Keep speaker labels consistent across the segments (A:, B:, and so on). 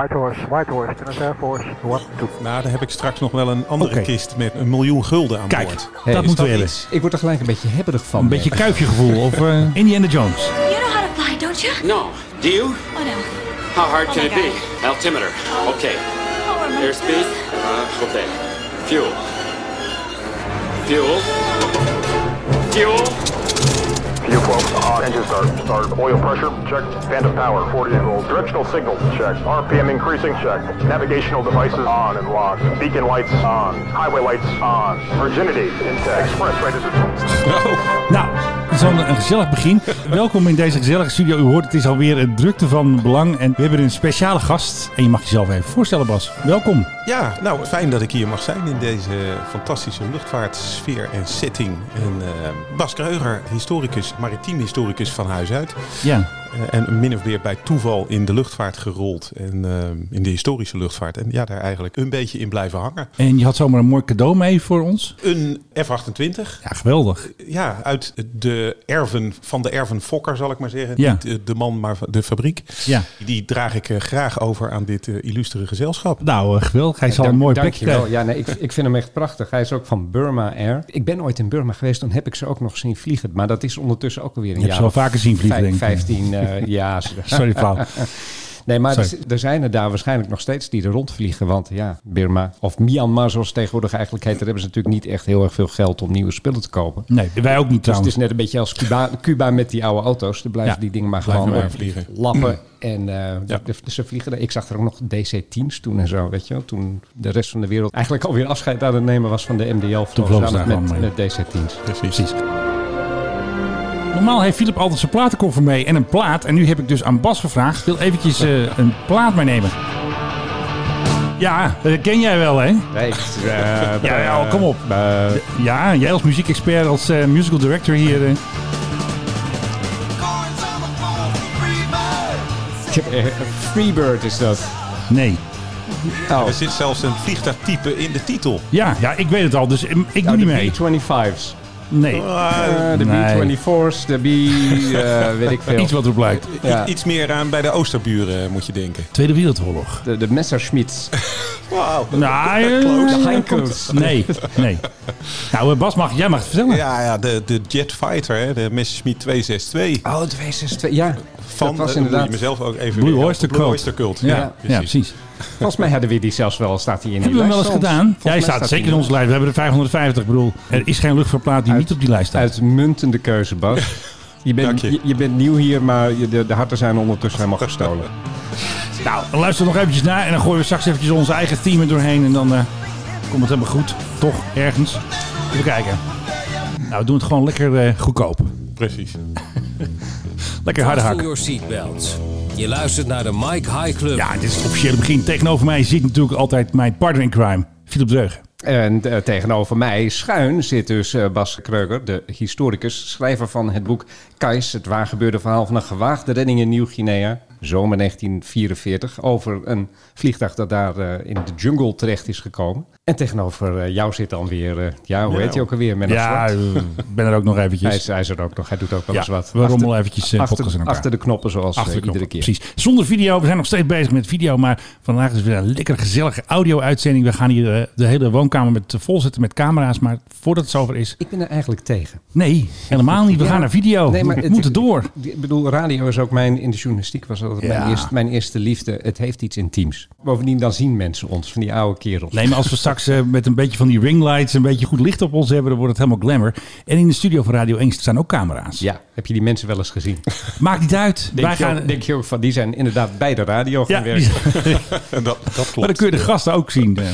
A: Whitehorse, Whitehorse, ten Horse, one, two.
B: Nou, daar heb ik straks nog wel een andere
C: Oké.
B: kist met een miljoen gulden aan
C: Kijk,
B: boord.
C: dat
B: Is
C: moeten we hebben.
B: iets?
D: Ik word er gelijk een beetje hebberig van.
C: Een beetje
D: merk ik.
C: kuifjegevoel of eh, Indiana Jones.
E: You know how to fly, don't you?
F: No. Do you?
E: Oh no.
F: How hard
E: Oh
F: can
E: my
F: it be? Altimeter. Okay.
E: Oh, am I-
F: Airspeed? Uh, okay. Fuel. Fuel. Fuel.
G: Fuel flow, hot engines start, start, oil pressure, check, phantom power, 48 volts, directional signal, check, RPM increasing, check, navigational devices on and locked, beacon lights on, highway lights on, virginity intact, express rate is
C: Nou, zo'n een gezellig begin. Welkom in deze gezellige studio. U hoort, het is alweer een drukte van belang. En we hebben een speciale gast. En je mag jezelf even voorstellen, Bas. Welkom.
B: Ja, nou fijn dat ik hier mag zijn in deze fantastische luchtvaartsfeer en setting. En eh, Bas Kreuger, historicus, maritiem historicus van huis uit.
C: Ja,
B: Eh, en min of meer bij toeval in de luchtvaart gerold. En eh, in de historische luchtvaart. En ja, daar eigenlijk een beetje in blijven hangen.
C: en je had zomaar een mooi cadeau mee voor ons.
B: Een F-28.
C: Ja, geweldig.
B: Ja, uit de erven van de erven Fokker, zal ik maar zeggen.
C: Ja.
B: Niet eh, de man, maar de fabriek.
C: Ja.
B: Die draag ik eh, graag over aan dit eh, illustere gezelschap.
C: Nou, eh, geweldig. Hij zal
D: Dank-
C: een mooi plekje
D: dankjewel.
C: krijgen.
D: Ja, nee, ik, ik vind hem echt prachtig. Hij is ook van Burma Air. Ik ben ooit in Burma geweest, dan heb ik ze ook nog zien vliegen. Maar dat is ondertussen ook alweer een
C: Je hebt
D: jaar
C: ze wel
D: of
C: vaker zien vliegen,
D: vijf-
C: denk ik.
D: 15 eh, ja.
C: Sorry, Paul.
D: Nee, maar
C: Sorry.
D: er- er zijn er daar waarschijnlijk nog steeds die er rondvliegen. Want ja, Burma of Myanmar, zoals het tegenwoordig eigenlijk heet, daar hebben ze natuurlijk niet echt heel erg veel geld om nieuwe spullen te kopen.
C: Nee, wij ook niet
D: Dus het
C: trouwens.
D: is net een beetje als Cuba, Cuba met die oude auto's. Er blijven
C: Ja,
D: die dingen maar
B: blijven
D: gewoon
B: maar
D: op-
B: vliegen.
D: lappen. En eh,
B: Ja.
D: de- de- ze vliegen er. Ik zag er ook nog DC-10's toen en zo, weet je wel. Toen de rest van de wereld eigenlijk alweer afscheid aan het nemen was van de MDL.
C: Toen vlogen ze
D: samen
C: daar gewoon
D: met,
C: mee.
D: met DC-10's.
B: Precies.
C: Normaal heeft Philip altijd zijn platenkoffer mee en een plaat. En nu heb ik dus aan Bas gevraagd. Wil eventjes eh, een plaat meenemen. Ja, dat ken jij wel, hè?
D: Nee, ja,
C: Ja, ja, oh, kom op. Eh, Ja, jij als muziekexpert, als eh, musical director hier. eh.
D: eh, Freebird is dat.
C: nee.
D: Oh,
B: Er zit zelfs een vliegtuigtype in de titel.
C: Ja, ja, ik weet het al, dus eh, ik doe
D: nou,
C: niet
D: de
C: mee.
D: B-25's.
C: Nee.
B: Oh.
C: Ah,
D: Eh, de
C: Nee.
D: B-24's, de B... eh, weet ik veel.
C: Iets wat erop lijkt.
B: I-
D: Ja.
B: Iets meer aan bij de Oosterburen, eh, moet je denken.
C: Tweede Wereldoorlog.
D: De, de Messerschmitts.
B: Wauw.
C: Nou, eh,
D: De Heinkels.
C: nee, nee. Nou, eh, Bas, mag, jij mag het vertellen.
B: Ja, ja de, de Jet Fighter, hè, de Messerschmitt 262.
D: Oh, 262. Ja,
B: Van,
D: dat was
B: eh,
D: inderdaad...
B: moet je mezelf ook even
C: Blue
B: weer-
C: Oyster
B: Blue
C: Cult.
B: Oyster Cult.
C: Ja, ja, precies.
D: Volgens mij hadden we die zelfs wel, staat hij in die
C: Hebben we hem wel eens
D: lijst soms.
C: gedaan?
D: Volgens
C: Jij
D: mij
C: staat
D: hij
C: zeker in
D: in
C: onze lijst. We hebben er 550. Ik bedoel, er is geen luchtvaartplaat die
D: Uit-
C: niet op die lijst
D: de
C: staat.
D: lijst. Uitmuntende keuze, Bas. Je
B: Dank
D: bent,
B: je.
D: je, je bent nieuw hier, maar je- de, de harten zijn ondertussen helemaal gestolen.
C: Nou, luister nog eventjes naar en dan gooien we straks eventjes onze eigen team er doorheen. En dan eh, komt het helemaal goed. Toch, ergens. Even kijken. Nou, we doen het gewoon lekker eh, goedkoop.
B: Precies.
C: Lekker harde
H: Voel
C: hak.
H: your seatbelts. Je luistert naar de Mike High Club.
C: Ja, dit is het officiële begin. Tegenover mij zit natuurlijk altijd mijn partner in crime, Philip Dreugen.
D: En eh, tegenover mij, schuin, zit dus eh, Bas Kreuger, de historicus, schrijver van het boek Kais, het waargebeurde verhaal van een gewaagde redding in Nieuw-Guinea, zomer 1944, over een vliegtuig dat daar eh, in de jungle terecht is gekomen. En tegenover eh, jou zit dan weer, eh, ja,
B: Nou.
D: hoe heet hij ook alweer, Menno
C: Ja,
D: Zwart?
C: eh, ben er ook nog eventjes.
D: Hij is, hij is er ook nog, hij doet ook wel
C: Ja,
D: eens wat.
C: we rommelen eventjes, eh,
D: achter,
C: podcast in elkaar.
D: achter de knoppen zoals
C: Achter de
D: eh, iedere keer.
C: knop, Precies. Zonder video. We zijn nog steeds bezig met video. Maar vandaag is weer een lekker gezellige audio-uitzending. We gaan hier eh, de hele woonkamer met, vol zetten met camera's. Maar voordat het zover is.
D: Ik ben er eigenlijk tegen.
C: Nee, helemaal niet. We
D: Ja.
C: gaan naar video.
D: Nee, maar
C: we
D: het-
C: moeten door.
D: Ik bedoel, radio is ook mijn, in de journalistiek was dat
C: Ja.
D: mijn, eerste, mijn eerste liefde. Het heeft iets intiems. Bovendien, dan zien mensen ons, van die oude kerels.
C: Nee, maar als we straks eh, met een beetje van die ringlights. een beetje goed licht op ons hebben. dan wordt het helemaal glamour. En in de studio van Radio 1 staan ook camera's.
D: Ja, heb je die mensen wel eens gezien?
C: Maakt niet uit.
D: Denk,
C: Wij
D: je,
C: gaan.
D: ook, denk je ook van, die zijn inderdaad bij de radio gaan
C: ja,
D: werken.
B: En dat, dat
C: maar
B: klopt.
C: dan kun je de gasten ook zien. eh.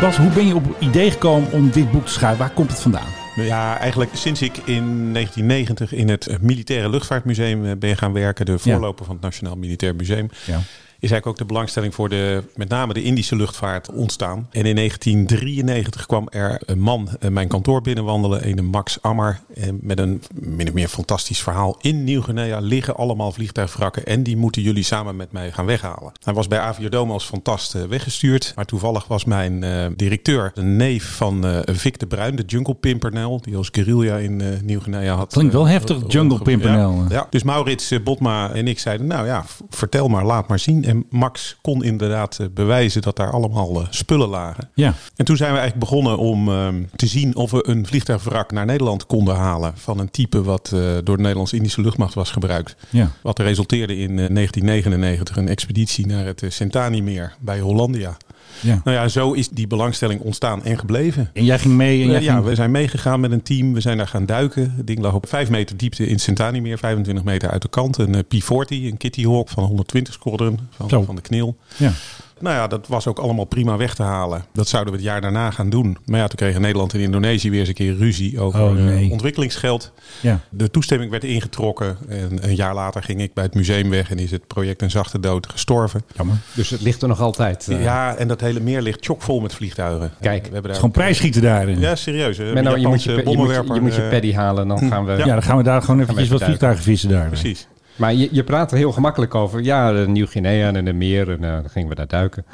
C: Bas, hoe ben je op het idee gekomen om dit boek te schrijven? Waar komt het vandaan?
B: Ja, eigenlijk sinds ik in 1990 in het eh, Militaire Luchtvaartmuseum eh, ben gaan werken, de voorloper van het Nationaal Militair Museum,
C: Ja.
B: is eigenlijk ook de belangstelling voor de, met name de Indische luchtvaart ontstaan. En in 1993 kwam er een man eh, mijn kantoor binnenwandelen, een Max Ammer, eh, met een min of meer fantastisch verhaal. In Nieuw-Guinea liggen allemaal vliegtuigwrakken en die moeten jullie samen met mij gaan weghalen. Hij was bij Aviodome als fantast eh, weggestuurd, maar toevallig was mijn eh, directeur een neef van eh Vic de Bruin, de Jungle Pimpernel, die als guerrilla in eh, Nieuw-Guinea had.
C: Klinkt wel
B: eh,
C: heftig,
B: rondge-
C: Jungle Pimpernel.
B: Ja, ja. Dus Maurits eh, Botma en ik zeiden, nou ja, v- vertel maar, laat maar zien. En Max kon inderdaad eh, bewijzen dat daar allemaal eh, spullen lagen.
C: Ja.
B: En toen zijn we eigenlijk begonnen om ehm, te zien of we een vliegtuigwrak naar Nederland konden halen. Van een type wat eh, door de Nederlands-Indische luchtmacht was gebruikt.
C: Ja.
B: Wat resulteerde in eh, 1999 een expeditie naar het eh, Sentani-meer bij Hollandia.
C: ja.
B: Nou ja, zo is die belangstelling ontstaan en gebleven.
C: En jij ging mee en jij
B: Eh, ja,
C: ging...
B: we zijn meegegaan met een team. We zijn daar gaan duiken. Het ding lag op 5 meter diepte in Sentani meer, 25 meter uit de kant. Een eh, P-40, een Kitty Hawk van 120 squadron
C: Zo.
B: van, van de knil.
C: Ja.
B: Nou ja, dat was ook allemaal prima weg te halen. Dat zouden we het jaar daarna gaan doen. Maar ja, toen kregen Nederland en Indonesië weer eens een keer ruzie over
C: Oh, nee.
B: eh, ontwikkelingsgeld.
C: Ja.
B: De toestemming werd ingetrokken. En een jaar later ging ik bij het museum weg en is het project een zachte dood gestorven.
C: Jammer.
D: Dus het ligt er nog altijd. eh.
B: Ja, en dat hele meer ligt chockvol met vliegtuigen.
D: Kijk,
B: we hebben daar
C: Het is gewoon prijsschieten daarin.
B: ja, serieus. hè.
D: Menno, je moet
B: Japanse
D: je, je, moet je,
B: bommenwerper,
D: je moet je
B: eh,
D: paddy halen, dan gaan we...
C: Ja, dan gaan we daar gewoon eventjes
D: even
C: wat
D: duiken.
C: vliegtuigen vissen daar. eh.
B: Precies.
D: Maar je, je praat er heel gemakkelijk over. Ja, de Nieuw-Guinea en de meer. En eh, dan gingen we daar duiken.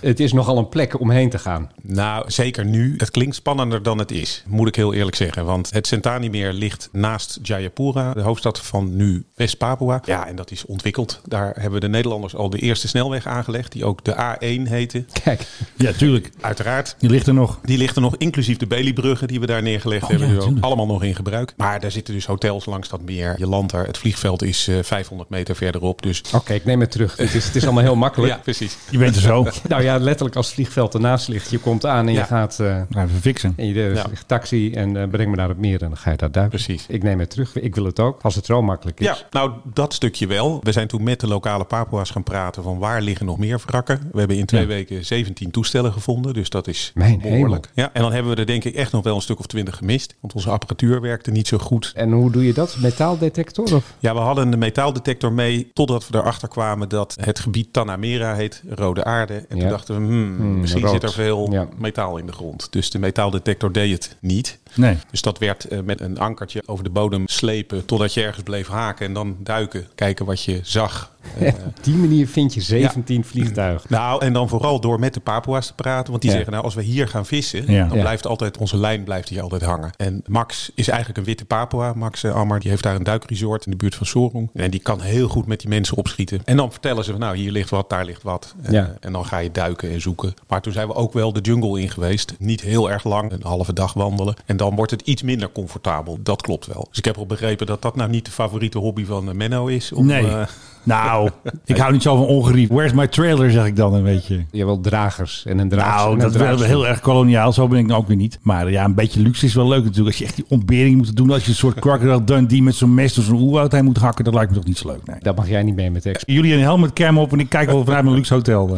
D: het is nogal een plek om heen te gaan.
B: Nou, zeker nu. Het klinkt spannender dan het is, moet ik heel eerlijk zeggen. Want het Sentani-meer ligt naast Jayapura, de hoofdstad van nu West-Papua. Ja, en dat is ontwikkeld. Daar hebben de Nederlanders al de eerste snelweg aangelegd, die ook de A1 heette.
D: Kijk,
C: Ja, tuurlijk.
B: Uiteraard.
C: Die ligt er nog.
B: Die ligt er nog, inclusief de Beliebruggen die we daar neergelegd hebben.
C: Oh ja,
B: nu ook
C: tuurlijk.
B: allemaal nog in gebruik. Maar daar zitten dus hotels langs dat meer. Je landt daar. Het vliegveld is eh, 500 meter verderop. Dus
D: oké, ik neem het terug. Het is, het is allemaal heel
C: Oh,
D: makkelijk.
B: ja, precies.
C: Je bent er zo.
D: Nou ja, letterlijk als het vliegveld ernaast ligt. Je komt aan en
B: Ja.
D: je gaat... eh,
C: Nou, even fixen.
D: en je eh,
B: Ja.
D: zegt taxi en eh, breng me naar het meer en dan ga je daar duiken.
B: Precies.
D: Ik neem het terug. Ik wil het ook. Als het zo makkelijk is.
B: Ja, nou dat stukje wel. We zijn toen met de lokale Papua's gaan praten van waar liggen nog meer wrakken. We hebben in twee
C: Ja.
B: weken 17 toestellen gevonden, dus dat is
D: Mijn
B: behoorlijk. Ja, en dan hebben we er denk ik echt nog wel een stuk of twintig gemist, want onze apparatuur werkte niet zo goed.
D: En hoe doe je dat? Metaaldetector? Of?
B: Ja, we hadden een metaaldetector mee totdat we erachter kwamen dat het gebied Tanamera heet, Rode Aarde. En
D: Ja.
B: toen dachten we, hmm, misschien
D: rood.
B: zit er veel
D: Ja.
B: metaal in de grond. Dus de metaaldetector deed het niet.
C: Nee.
B: Dus dat werd eh, met een ankertje over de bodem slepen totdat je ergens bleef haken en dan duiken, kijken wat je zag.
D: Op die manier vind je 17 vliegtuigen.
B: Nou, en dan vooral door met de Papua's te praten. Want die
D: Ja.
B: zeggen, nou, als we hier gaan vissen,
C: Ja.
B: dan
D: Ja.
B: blijft altijd onze lijn blijft hier altijd hangen. En Max is eigenlijk een witte Papua. Max eh, Ammer, die heeft daar een duikresort in de buurt van Sorong. En die kan heel goed met die mensen opschieten. En dan vertellen ze, van, nou, hier ligt wat, daar ligt wat. En,
D: Ja.
B: en dan ga je duiken en zoeken. Maar toen zijn we ook wel de jungle in geweest. Niet heel erg lang, een halve dag wandelen. En dan wordt het iets minder comfortabel. Dat klopt wel. Dus ik heb al begrepen dat dat nou niet de favoriete hobby van eh, Menno is. Om,
C: Nee.
B: eh,
C: Nou, ik hou niet zo van ongerief. Where's my trailer, zeg ik dan een beetje.
D: Je wil dragers en een draagster. en
C: Nou,
D: een
C: dat werd
D: draagster.
C: heel erg koloniaal. Zo ben ik nou ook weer niet. Maar ja, een beetje luxe is wel leuk natuurlijk. Als je echt die ontbering moet doen. Als je een soort crocodile Dundee met zo'n mes door zo'n oerwoud heen moet hakken. Dat lijkt me toch niet zo leuk. Nee.
D: Daar mag jij niet mee met de
C: Jullie een helmetcam op en ik kijk wel vanuit mijn luxe hotel. eh.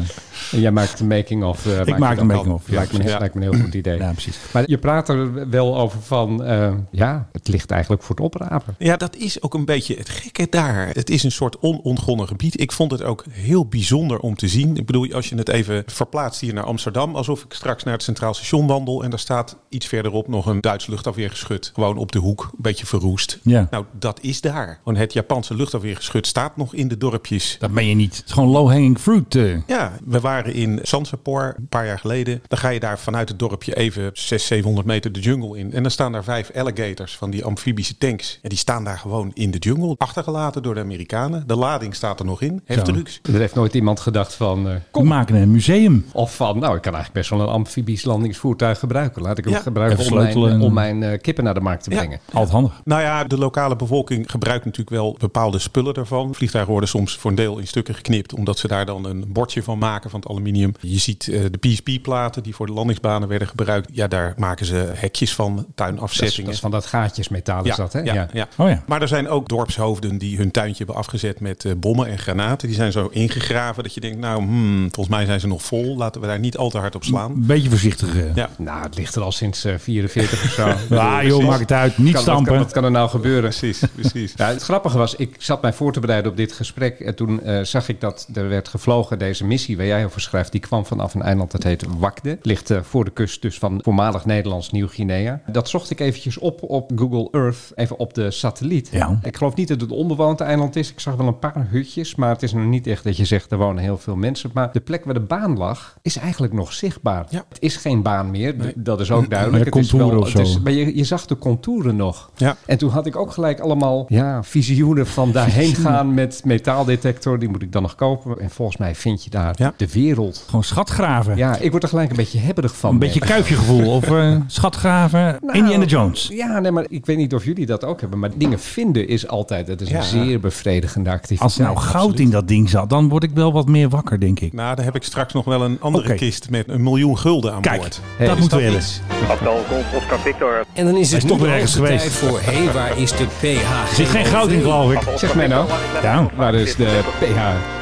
D: En jij maakt een making-of. eh,
C: Ik
D: je
C: maak
D: dan.
C: een making-of. Ja,
D: lijkt, me,
B: precies.
D: lijkt me een heel goed idee.
C: Ja, precies.
D: Maar je praat er wel over van, eh, ja, het ligt eigenlijk voor het oprapen.
B: Ja, dat is ook een beetje het gekke daar. Het is een soort onontgonnen gebied. Ik vond het ook heel bijzonder om te zien. Ik bedoel, als je het even verplaatst hier naar Amsterdam, alsof ik straks naar het Centraal Station wandel en daar staat iets verderop nog een Duits luchtafweergeschut. Gewoon op de hoek, een beetje verroest.
C: Ja.
B: Nou, dat is daar. Want het Japanse luchtafweergeschut staat nog in de dorpjes.
C: Dat ben je niet. Het is gewoon low-hanging fruit. eh.
B: Ja, we waren in Sansepor een paar jaar geleden. Dan ga je daar vanuit het dorpje even 600, 700 meter de jungle in. En dan staan daar vijf alligators van die amfibische tanks. En die staan daar gewoon in de jungle, achtergelaten door de Amerikanen. De lading staat er nog in, heftrucks.
D: Er heeft nooit iemand gedacht van, eh,
C: We maken een museum.
D: of van, nou, ik kan eigenlijk best wel een amfibisch landingsvoertuig gebruiken. Laat ik hem
B: Ja.
D: gebruiken
C: Even
D: om mijn,
C: sleutelen.
D: om mijn eh, kippen naar de markt te
B: Ja.
D: brengen.
C: Altijd handig.
B: Nou ja, de lokale bevolking gebruikt natuurlijk wel bepaalde spullen daarvan. Vliegtuigen worden soms voor een deel in stukken geknipt, omdat ze daar dan een bordje van maken van het aluminium. Je ziet eh, de PSP-platen die voor de landingsbanen werden gebruikt. Ja, daar maken ze hekjes van,
D: Dat is,
B: tuinafzettingen.
D: dat is van dat gaatjesmetaal is dat, hè?
B: Ja, ja.
C: Oh ja.
B: Maar er zijn ook dorpshoofden die hun tuintje hebben afgezet met eh, bommen en granaten. Die zijn zo ingegraven dat je denkt, nou, hmm, volgens mij zijn ze nog vol. Laten we daar niet al te hard op slaan.
C: Een beetje voorzichtig. eh.
B: Ja.
D: Nou, het ligt er al sinds eh, 44 of zo.
C: Ah, joh, maak het uit.
D: Kan-
C: Niet
D: wat, kan,
C: stampen.
D: wat kan er nou gebeuren?
B: Precies, precies.
D: Ja, het grappige was, ik zat mij voor te bereiden op dit gesprek. En toen eh, zag ik dat er werd gevlogen. Deze missie waar jij over schrijft, die kwam vanaf een eiland dat heet Wakde. Ligt eh, voor de kust dus van voormalig Nederlands Nieuw-Guinea. Dat zocht ik eventjes op op Google Earth, even op de satelliet.
C: Ja.
D: Ik geloof niet dat het een onbewoond eiland is. Ik zag wel een paar hutjes, maar het is nog niet echt dat je zegt er wonen heel veel mensen. Maar de plek waar de baan lag, is eigenlijk nog zichtbaar.
B: Ja.
D: Het is geen baan meer, d- dat is ook duidelijk.
C: Maar
D: het is
C: contouren
D: wel,
C: of
D: het is-
C: zo.
D: maar je, je zag de contouren nog.
B: Ja.
D: En toen had ik ook gelijk allemaal ja, visioenen van dan daarheen gaan met metaaldetector. Die moet ik dan nog kopen. En volgens mij vind je daar
B: Ja.
D: de wereld.
C: Gewoon schatgraven.
D: Ja, ik word er gelijk een beetje hebberig van.
C: Een beetje
D: merk ik.
C: kuifjegevoel. Of eh, schatgraven.
D: Nou,
C: Indiana Jones.
D: Ja, nee, maar ik weet niet of jullie dat ook hebben. Maar dingen vinden is altijd, dat is
B: Ja.
D: een zeer bevredigende activiteit.
C: Als er nou goud
D: Absoluut.
C: in dat ding zat, dan word ik wel wat meer wakker, denk ik.
B: Nou, daar heb ik straks nog wel een andere
C: Oké.
B: kist met een miljoen gulden aan
C: Kijk,
B: boord.
D: Hey,
C: dat
D: is
C: moeten
B: dat
C: we
B: iets?
C: eens.
G: Aftal, Golf, Oscar, Victor.
H: En dan is het
C: is
H: nu
C: toch weer
H: de
C: ergens
H: hoogste
C: geweest.
H: tijd voor... Hé, waar is de PHG?
C: Er zit geen goud in, geloof ik.
D: Zeg mij nou,
C: Ja,
D: waar is de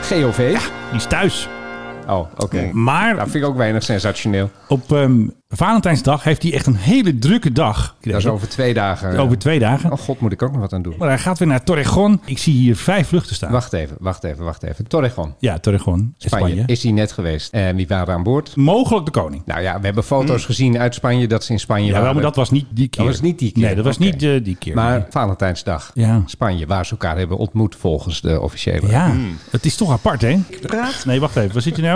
D: PHGOV?
C: Die is thuis.
D: Oh, oké.
C: Maar
D: Dat vind ik ook weinig sensationeel.
C: op ehm, Valentijnsdag heeft hij echt een hele drukke dag.
D: Dat is over twee dagen.
C: Over twee dagen.
D: Oh god, moet ik ook nog wat aan doen.
C: Maar hij gaat weer naar Torrejon. Ik zie hier vijf vluchten staan.
D: Wacht even, wacht even, wacht even. Torrejon,
C: Ja, Torrejon.
D: Spanje,
C: Spanje.
D: is die net geweest. En wie waren aan boord?
C: Mogelijk de koning.
D: Nou ja, we hebben foto's gezien uit Spanje dat ze in Spanje
C: Hm. Ja,
D: waren.
C: wel, maar dat was niet die keer.
D: was niet die keer.
C: Nee, dat was
D: Oké.
C: niet eh, die keer.
D: Maar Valentijnsdag,
C: Ja.
D: Spanje, waar ze elkaar hebben ontmoet volgens de officiële.
C: Nee. Ja, het is toch apart, hè? Nee, wacht even. Waar zit je nou?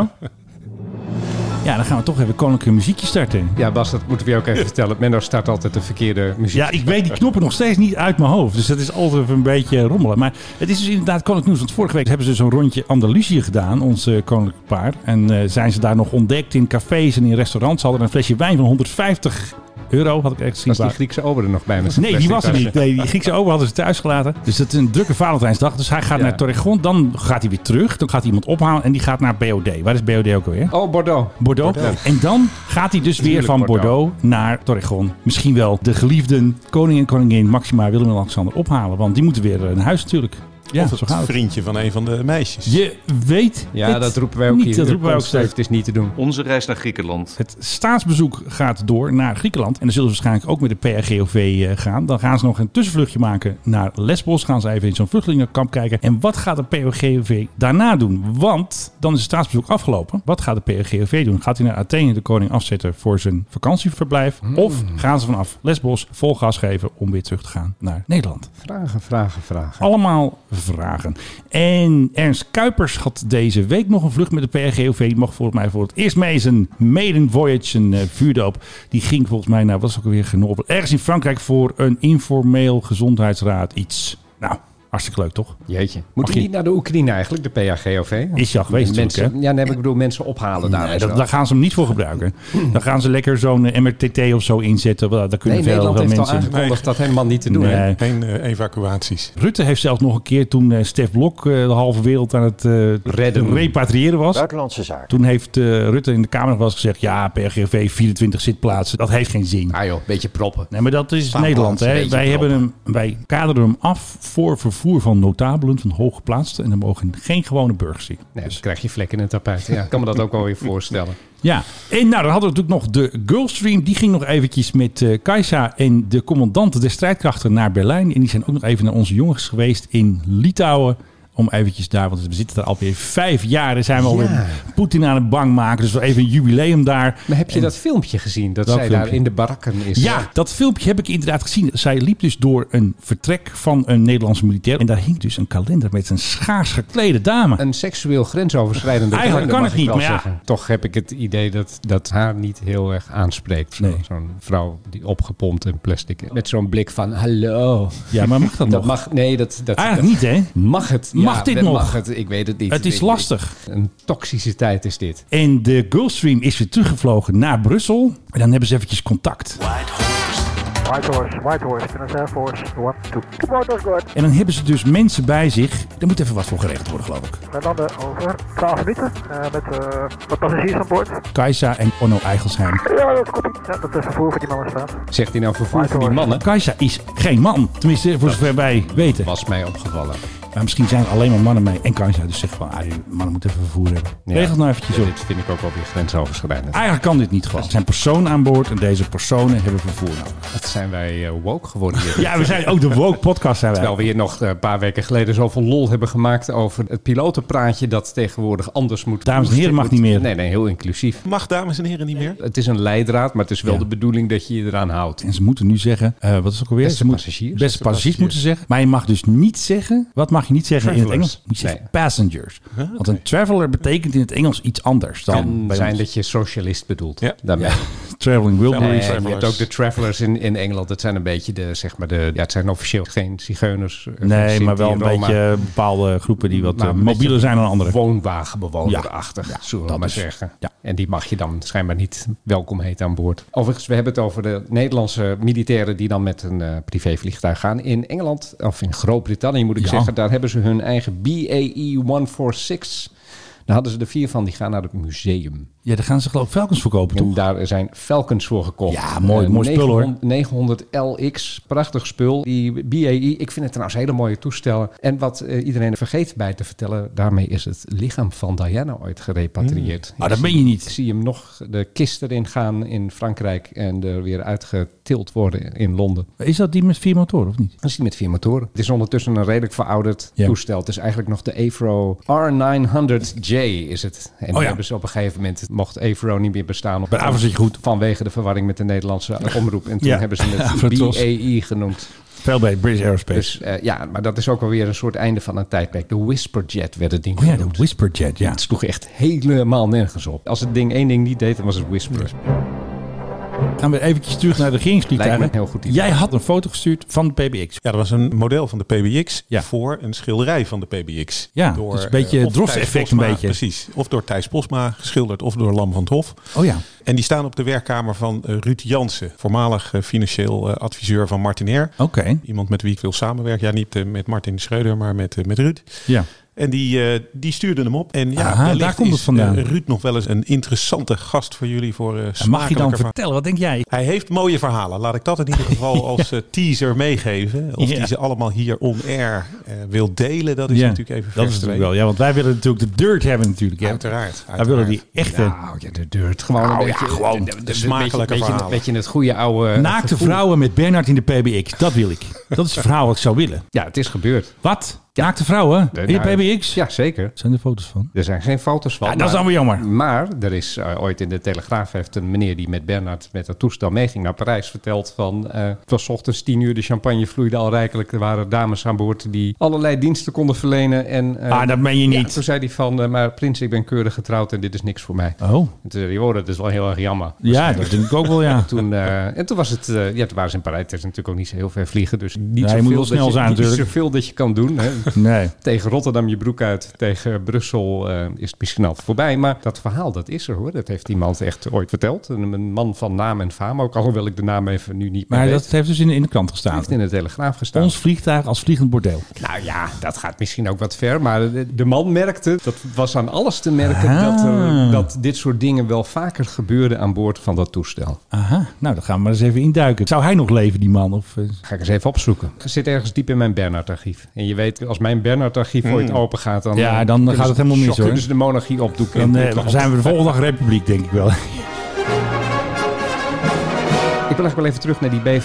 C: Ja, dan gaan we toch even koninklijke muziekje starten.
D: Ja, Bas, dat moeten we je ook even vertellen. Menno start altijd de verkeerde muziek.
C: Ja, ik weet die knoppen nog steeds niet uit mijn hoofd. Dus dat is altijd even een beetje rommelen. Maar het is dus inderdaad koninklijk nieuws. Want vorige week hebben ze zo'n rondje Andalusië gedaan, ons eh, koninklijk paar. En eh, zijn ze daar nog ontdekt in cafés en in restaurants. Ze hadden een flesje wijn van 150 euro, had ik echt gezien.
D: Was die Griekse ober er nog bij me?
C: Nee, die was er niet. Nee, die Griekse ober hadden ze thuis gelaten. Dus dat is een drukke Valentijnsdag. Dus hij gaat
D: Ja.
C: naar Torrejon, dan gaat hij weer terug. Dan gaat hij iemand ophalen en die gaat naar BOD. Waar is BOD ook alweer?
D: Oh, Bordeaux.
C: Bordeaux. En dan gaat hij dus weer
D: Natuurlijk
C: van Bordeaux,
D: Bordeaux.
C: naar Torrejon. Misschien wel de geliefden koning en koningin Maxima, Willem en Alexander ophalen. Want die moeten weer eh, naar huis natuurlijk. Ja,
B: of
C: zo
B: het
C: gaat het.
B: vriendje van een van de meisjes.
C: Je weet
D: Ja,
C: het
D: dat roepen wij ook
C: niet.
D: hier.
C: Dat roepen wij ook steeds.
D: Het is niet te doen.
I: Onze reis naar Griekenland.
C: Het staatsbezoek gaat door naar Griekenland. En dan zullen ze waarschijnlijk ook met de PRGOV eh, gaan. Dan gaan ze nog een tussenvluchtje maken naar Lesbos. Gaan ze even in zo'n vluchtelingenkamp kijken. En wat gaat de PRGOV daarna doen? Want dan is het staatsbezoek afgelopen. Wat gaat de PRGOV doen? Gaat hij naar Athene de koning afzetten voor zijn vakantieverblijf? Of gaan ze vanaf Lesbos vol gas geven om weer terug te gaan naar Nederland?
D: Vragen, vragen, vragen.
C: Allemaal vragen. En Ernst Kuipers had deze week nog een vlucht met de PRGOV. Die mag volgens mij voor het eerst mee zijn maiden voyage, een eh, vuurdoop. Die ging volgens mij naar, was ook weer Grenoble. Ergens in Frankrijk voor een informeel gezondheidsraad iets. Nou, hartstikke leuk toch?
D: Jeetje. Moeten
C: je-
D: die niet naar de Oekraïne eigenlijk, de PHGOV?
C: Is je al geweest natuurlijk,
D: mensen,
C: hè?
D: Ja, nee, maar ik bedoel mensen ophalen daar.
C: Nee,
D: en
C: dat,
D: zo.
C: daar gaan ze hem niet voor gebruiken. Dan gaan ze lekker zo'n eh, MRTT of zo inzetten. Wel, Daar kunnen
D: nee,
C: veel,
D: Nederland
C: veel
D: heeft al
C: mensen.
D: aangekondigd dat helemaal niet te doen. hè?
C: Nee.
B: Geen eh, evacuaties.
C: Rutte heeft zelfs nog een keer toen eh, Stef Blok eh, de halve wereld aan het eh,
D: Redden.
C: repatriëren was.
J: Buitenlandse zaken.
C: Toen heeft eh, Rutte in de Kamer nog wel eens gezegd: ja, PRGV 24 zitplaatsen, dat heeft geen zin.
D: Ah joh, beetje proppen.
C: Nee, maar dat is
D: Staat
C: Nederland.
D: wel eens
C: Hè?
D: een beetje
C: Wij, hebben hem, wij kaderen hem af voor vervoer van notabelen, van hooggeplaatsten. En er mogen geen gewone burgers zien.
D: Nee, dan krijg je vlekken in het tapijt. Dus- Ja, ik kan me dat ook wel weer voorstellen.
C: Ja, en nou, dan hadden we natuurlijk nog de Gulfstream. Die ging nog eventjes met eh Kajsa en de commandanten der strijdkrachten naar Berlijn. En die zijn ook nog even naar onze jongens geweest in Litouwen. Om eventjes daar, want we zitten daar alweer vijf jaar. en zijn we alweer Poetin aan het bang maken. Dus wel even een jubileum daar.
D: Maar heb je dat filmpje gezien dat
C: Welk
D: zij daar
C: filmpje?
D: in de barakken is?
C: Ja, dat filmpje heb ik inderdaad gezien. Zij liep dus door een vertrek van een Nederlandse militair. En daar hing dus een kalender met een schaars geklede dame.
D: Een seksueel grensoverschrijdende
C: Eigenlijk
D: kalender,
C: kan
D: mag
C: het niet,
D: ik wel
C: maar ja.
D: zeggen. Toch heb ik het idee dat dat haar niet heel erg aanspreekt. Zo-
C: Nee.
D: Zo'n vrouw die opgepompt in plastic. is. Met zo'n blik van hallo.
C: Ja, maar mag
D: Dat
C: dat, nog?
D: mag, nee, dat, dat,
C: Eigenlijk niet, hè?
D: Mag het?
C: Mag
D: Ja,
C: dit
D: dat
C: nog?
D: Mag het? Ik weet het niet.
C: Het is
D: Ik-
C: lastig.
D: ik- Een toxische tijd is dit.
C: En de Gulfstream is weer teruggevlogen naar Brussel. En dan hebben ze eventjes contact.
A: White Horse, White Horse, Finnish Air Force, one, two.
C: En dan hebben ze dus mensen bij zich. Daar moet even wat voor geregeld worden, geloof ik.
A: Wij landen eh, over 12 minuten eh, met eh, wat passagiers aan boord.
C: Kajsa en Onno Eigelsheim.
A: Ja, dat komt niet. Ja, dat is vervoer voor die mannen staat.
D: Zegt hij nou vervoer van die mannen?
C: Kajsa is geen man. Tenminste, voor zover wij weten.
D: Was mij opgevallen.
C: Maar misschien zijn er alleen maar mannen mee. En Kajsa dus zegt van, ah, die mannen moeten even vervoer hebben.
D: Ja.
C: Regel het nou eventjes
D: Ja,
C: op.
D: dit vind ik ook wel weer grensoverschrijdend.
C: Eigenlijk kan dit niet gewoon. Er zijn personen aan boord en deze personen hebben vervoer nodig.
D: Wat zijn wij eh, woke geworden hier.
C: Ja, we zijn ook de woke podcast zijn wij.
D: Terwijl we hier nog eh, een paar weken geleden zoveel lol hebben gemaakt over het pilotenpraatje dat tegenwoordig anders moet.
C: Dames en heren, mag niet meer.
D: Nee, nee, heel inclusief.
B: Mag dames en heren niet meer?
D: Het is een leidraad, maar het is wel
C: Ja.
D: de bedoeling dat je je eraan houdt.
C: En ze moeten nu zeggen, eh, wat is het ook alweer?
D: Beste
C: Ze moeten-
D: passagiers.
C: Beste passagiers moeten ze zeggen. Maar je mag dus niet zeggen, wat mag je niet zeggen in het
D: Travelers.
C: Engels? Moet je zeggen
D: Nee.
C: passengers. Want een traveler betekent in het Engels iets anders dan
D: Kan
C: bij
D: zijn
C: ons.
D: dat je socialist bedoelt.
B: Ja.
D: Daarmee.
C: Traveling Wilburys.
B: Traveling
D: En je hebt
B: Travelers.
D: ook de Travelers in, in Engeland. Dat zijn een beetje de, zeg maar de, ja, het zijn officieel geen zigeuners. eh, van
C: Nee,
D: Sinti
C: maar wel
D: en
C: een
D: Roma.
C: beetje bepaalde groepen die wat
D: Nou,
C: eh,
D: een beetje
C: mobieler zijn dan anderen.
D: Woonwagenbewonerachtig,
C: Ja, ja,
D: zullen we
C: dat
D: maar
C: is-
D: zeggen.
C: ja.
D: En die mag je dan schijnbaar niet welkom heten aan boord. Overigens, we hebben het over de Nederlandse militairen die dan met een eh, privévliegtuig gaan. In Engeland, of in Groot-Brittannië moet ik
C: Ja.
D: zeggen, daar hebben ze hun eigen E BAE 146. Daar hadden ze er vier van, die gaan naar het museum.
C: Ja, daar gaan ze geloof ik velkens verkopen,
D: En
C: toch?
D: daar zijn Falcons voor gekocht.
C: Ja, mooi-
D: Eh,
C: mooi spul, hoor.
D: 900 LX, prachtig spul. Die BAE, ik vind het trouwens hele mooie toestellen. En wat eh, iedereen vergeet bij te vertellen, daarmee is het lichaam van Diana ooit gerepatrieerd.
C: Ah, dat meen je niet.
D: Ik zie hem nog de kist erin gaan in Frankrijk en er weer uitgetild worden in Londen.
C: Is dat die met vier motoren of niet?
D: Dat is die met vier motoren. Het is ondertussen een redelijk verouderd
C: Ja.
D: toestel. Het is eigenlijk nog de Avro R900J is het. En
C: Oh ja.
D: die hebben ze op een gegeven moment, mocht Avro niet meer bestaan. op-
C: Bij Avro zit je goed.
D: Vanwege de verwarring met de Nederlandse omroep. En toen
C: Ja.
D: hebben ze
C: Avro
D: het
C: Tros.
D: BAE genoemd.
C: Veel bij British Aerospace.
D: Dus eh, ja, maar dat is ook alweer een soort einde van een tijdperk. De Whisperjet werd het ding
C: oh ja, de
D: genoemd.
C: Whisperjet, ja.
D: Het sloeg echt helemaal nergens op. Als het ding één ding niet deed, dan was het Whisper.
C: Gaan we eventjes terug naar de regeringsvliegtuigen.
D: Lijkt me een heel goed idee.
C: Jij had een foto gestuurd van de PBX.
B: Ja, dat was een model van de PBX
C: Ja.
B: voor een schilderij van de PBX.
C: Ja, dat is een beetje
B: eh,
C: het
B: of
C: Drost
B: Thijs
C: effect een
B: Posma,
C: beetje.
B: Precies, of door Thijs Posma geschilderd of door Lam van het Hof.
C: Oh ja.
B: En die staan op de werkkamer van eh, Ruud Jansen, voormalig eh, financieel eh, adviseur van Martinair.
C: Oké.
B: Iemand met wie ik wil samenwerken. Ja, niet eh, met Martin Schreuder, maar met, eh, met Ruud.
C: Ja.
B: En die, eh, die stuurde hem op. En ja,
C: Aha,
B: wellicht
C: daar komt het
B: is,
C: vandaan.
B: eh, Ruud nog wel eens een interessante gast voor jullie. Voor, eh,
C: En mag je dan
B: smakelijke verha-
C: vertellen? Wat denk jij?
B: hij heeft mooie verhalen. Laat ik dat in ieder geval als eh, teaser meegeven. Of
C: Ja.
B: die ze allemaal hier on-air eh, wil delen, dat is
C: ja,
B: natuurlijk even
C: dat
B: vers
C: is
B: te
C: natuurlijk wel. Ja, want wij willen natuurlijk de dirt hebben natuurlijk. Hè?
B: Uiteraard.
C: Wij willen die echte
D: Nou Oh ja, de deurt. Gewoon een beetje, gewoon de,
B: smakelijke
D: beetje,
B: verhalen.
D: beetje het goede oude...
C: naakte
D: gevoel.
C: vrouwen met Bernard in de PBX. Dat wil ik. Dat is het verhaal wat ik zou willen.
D: Ja, het is gebeurd.
C: Wat? Naakte vrouwen in de
D: Nou,
C: PBX?
D: Ja, zeker.
C: Zijn er foto's van?
D: Er zijn geen foto's van.
C: Ja, dat is
D: maar-
C: dan weer jammer.
D: Maar er is eh, ooit in de Telegraaf heeft een meneer die met Bernard met dat toestel meeging naar Parijs verteld van eh, het was 's ochtends 10 uur, de champagne vloeide al rijkelijk. Er waren dames aan boord die allerlei diensten konden verlenen. En, eh,
C: Ah, dat meen je
D: ja,
C: niet.
D: toen zei hij van, eh, maar prins, ik ben keurig getrouwd en dit is niks voor mij.
C: Oh.
D: En toen zei hij, oh, dat is wel heel erg jammer.
C: Ja, dat denk ik ook wel, ja.
D: Toen, eh, en toen was het, eh, ja, toen waren ze in Parijs. Het is natuurlijk ook niet zo heel ver vliegen, dus niet,
C: je
D: zoveel,
C: moet wel
D: dat
C: snel
D: je,
C: zijn
D: niet
C: natuurlijk.
D: zoveel dat je kan doen. Hè.
C: Nee.
D: Tegen Rotterdam je broek uit, tegen Brussel eh, is het misschien al voorbij. Maar dat verhaal, dat is er hoor. Dat heeft iemand echt ooit verteld. Een, een man van naam en faam ook, alhoewel ik de naam even nu niet meer
C: Maar
D: weet.
C: dat heeft dus in de, in de krant gestaan.
D: heeft in de Telegraaf gestaan.
C: Ons vliegtuig als vliegend bordeel.
D: Nou ja, dat gaat misschien ook wat ver. Maar de, de man merkte, dat was aan alles te merken...
C: Ah.
D: Dat, er, dat dit soort dingen wel vaker gebeurden aan boord van dat toestel.
C: Aha, nou dan gaan we maar eens even induiken. Zou hij nog leven, die man? Of, eh,
D: Ga ik eens even opzoeken. Ik zit ergens diep in mijn Bernard-archief. En je weet, als mijn Bernard-archief ooit open gaat... Dan,
C: Ja,
D: eh,
C: dan
D: kunnen
C: gaat
D: ze-
C: het helemaal mis, hoor.
D: Kunnen ze de monarchie opdoeken.
C: dan
D: in
C: eh,
D: dit land.
C: zijn we de volgende dag republiek, denk ik wel.
D: Ik wil eigenlijk wel even terug naar die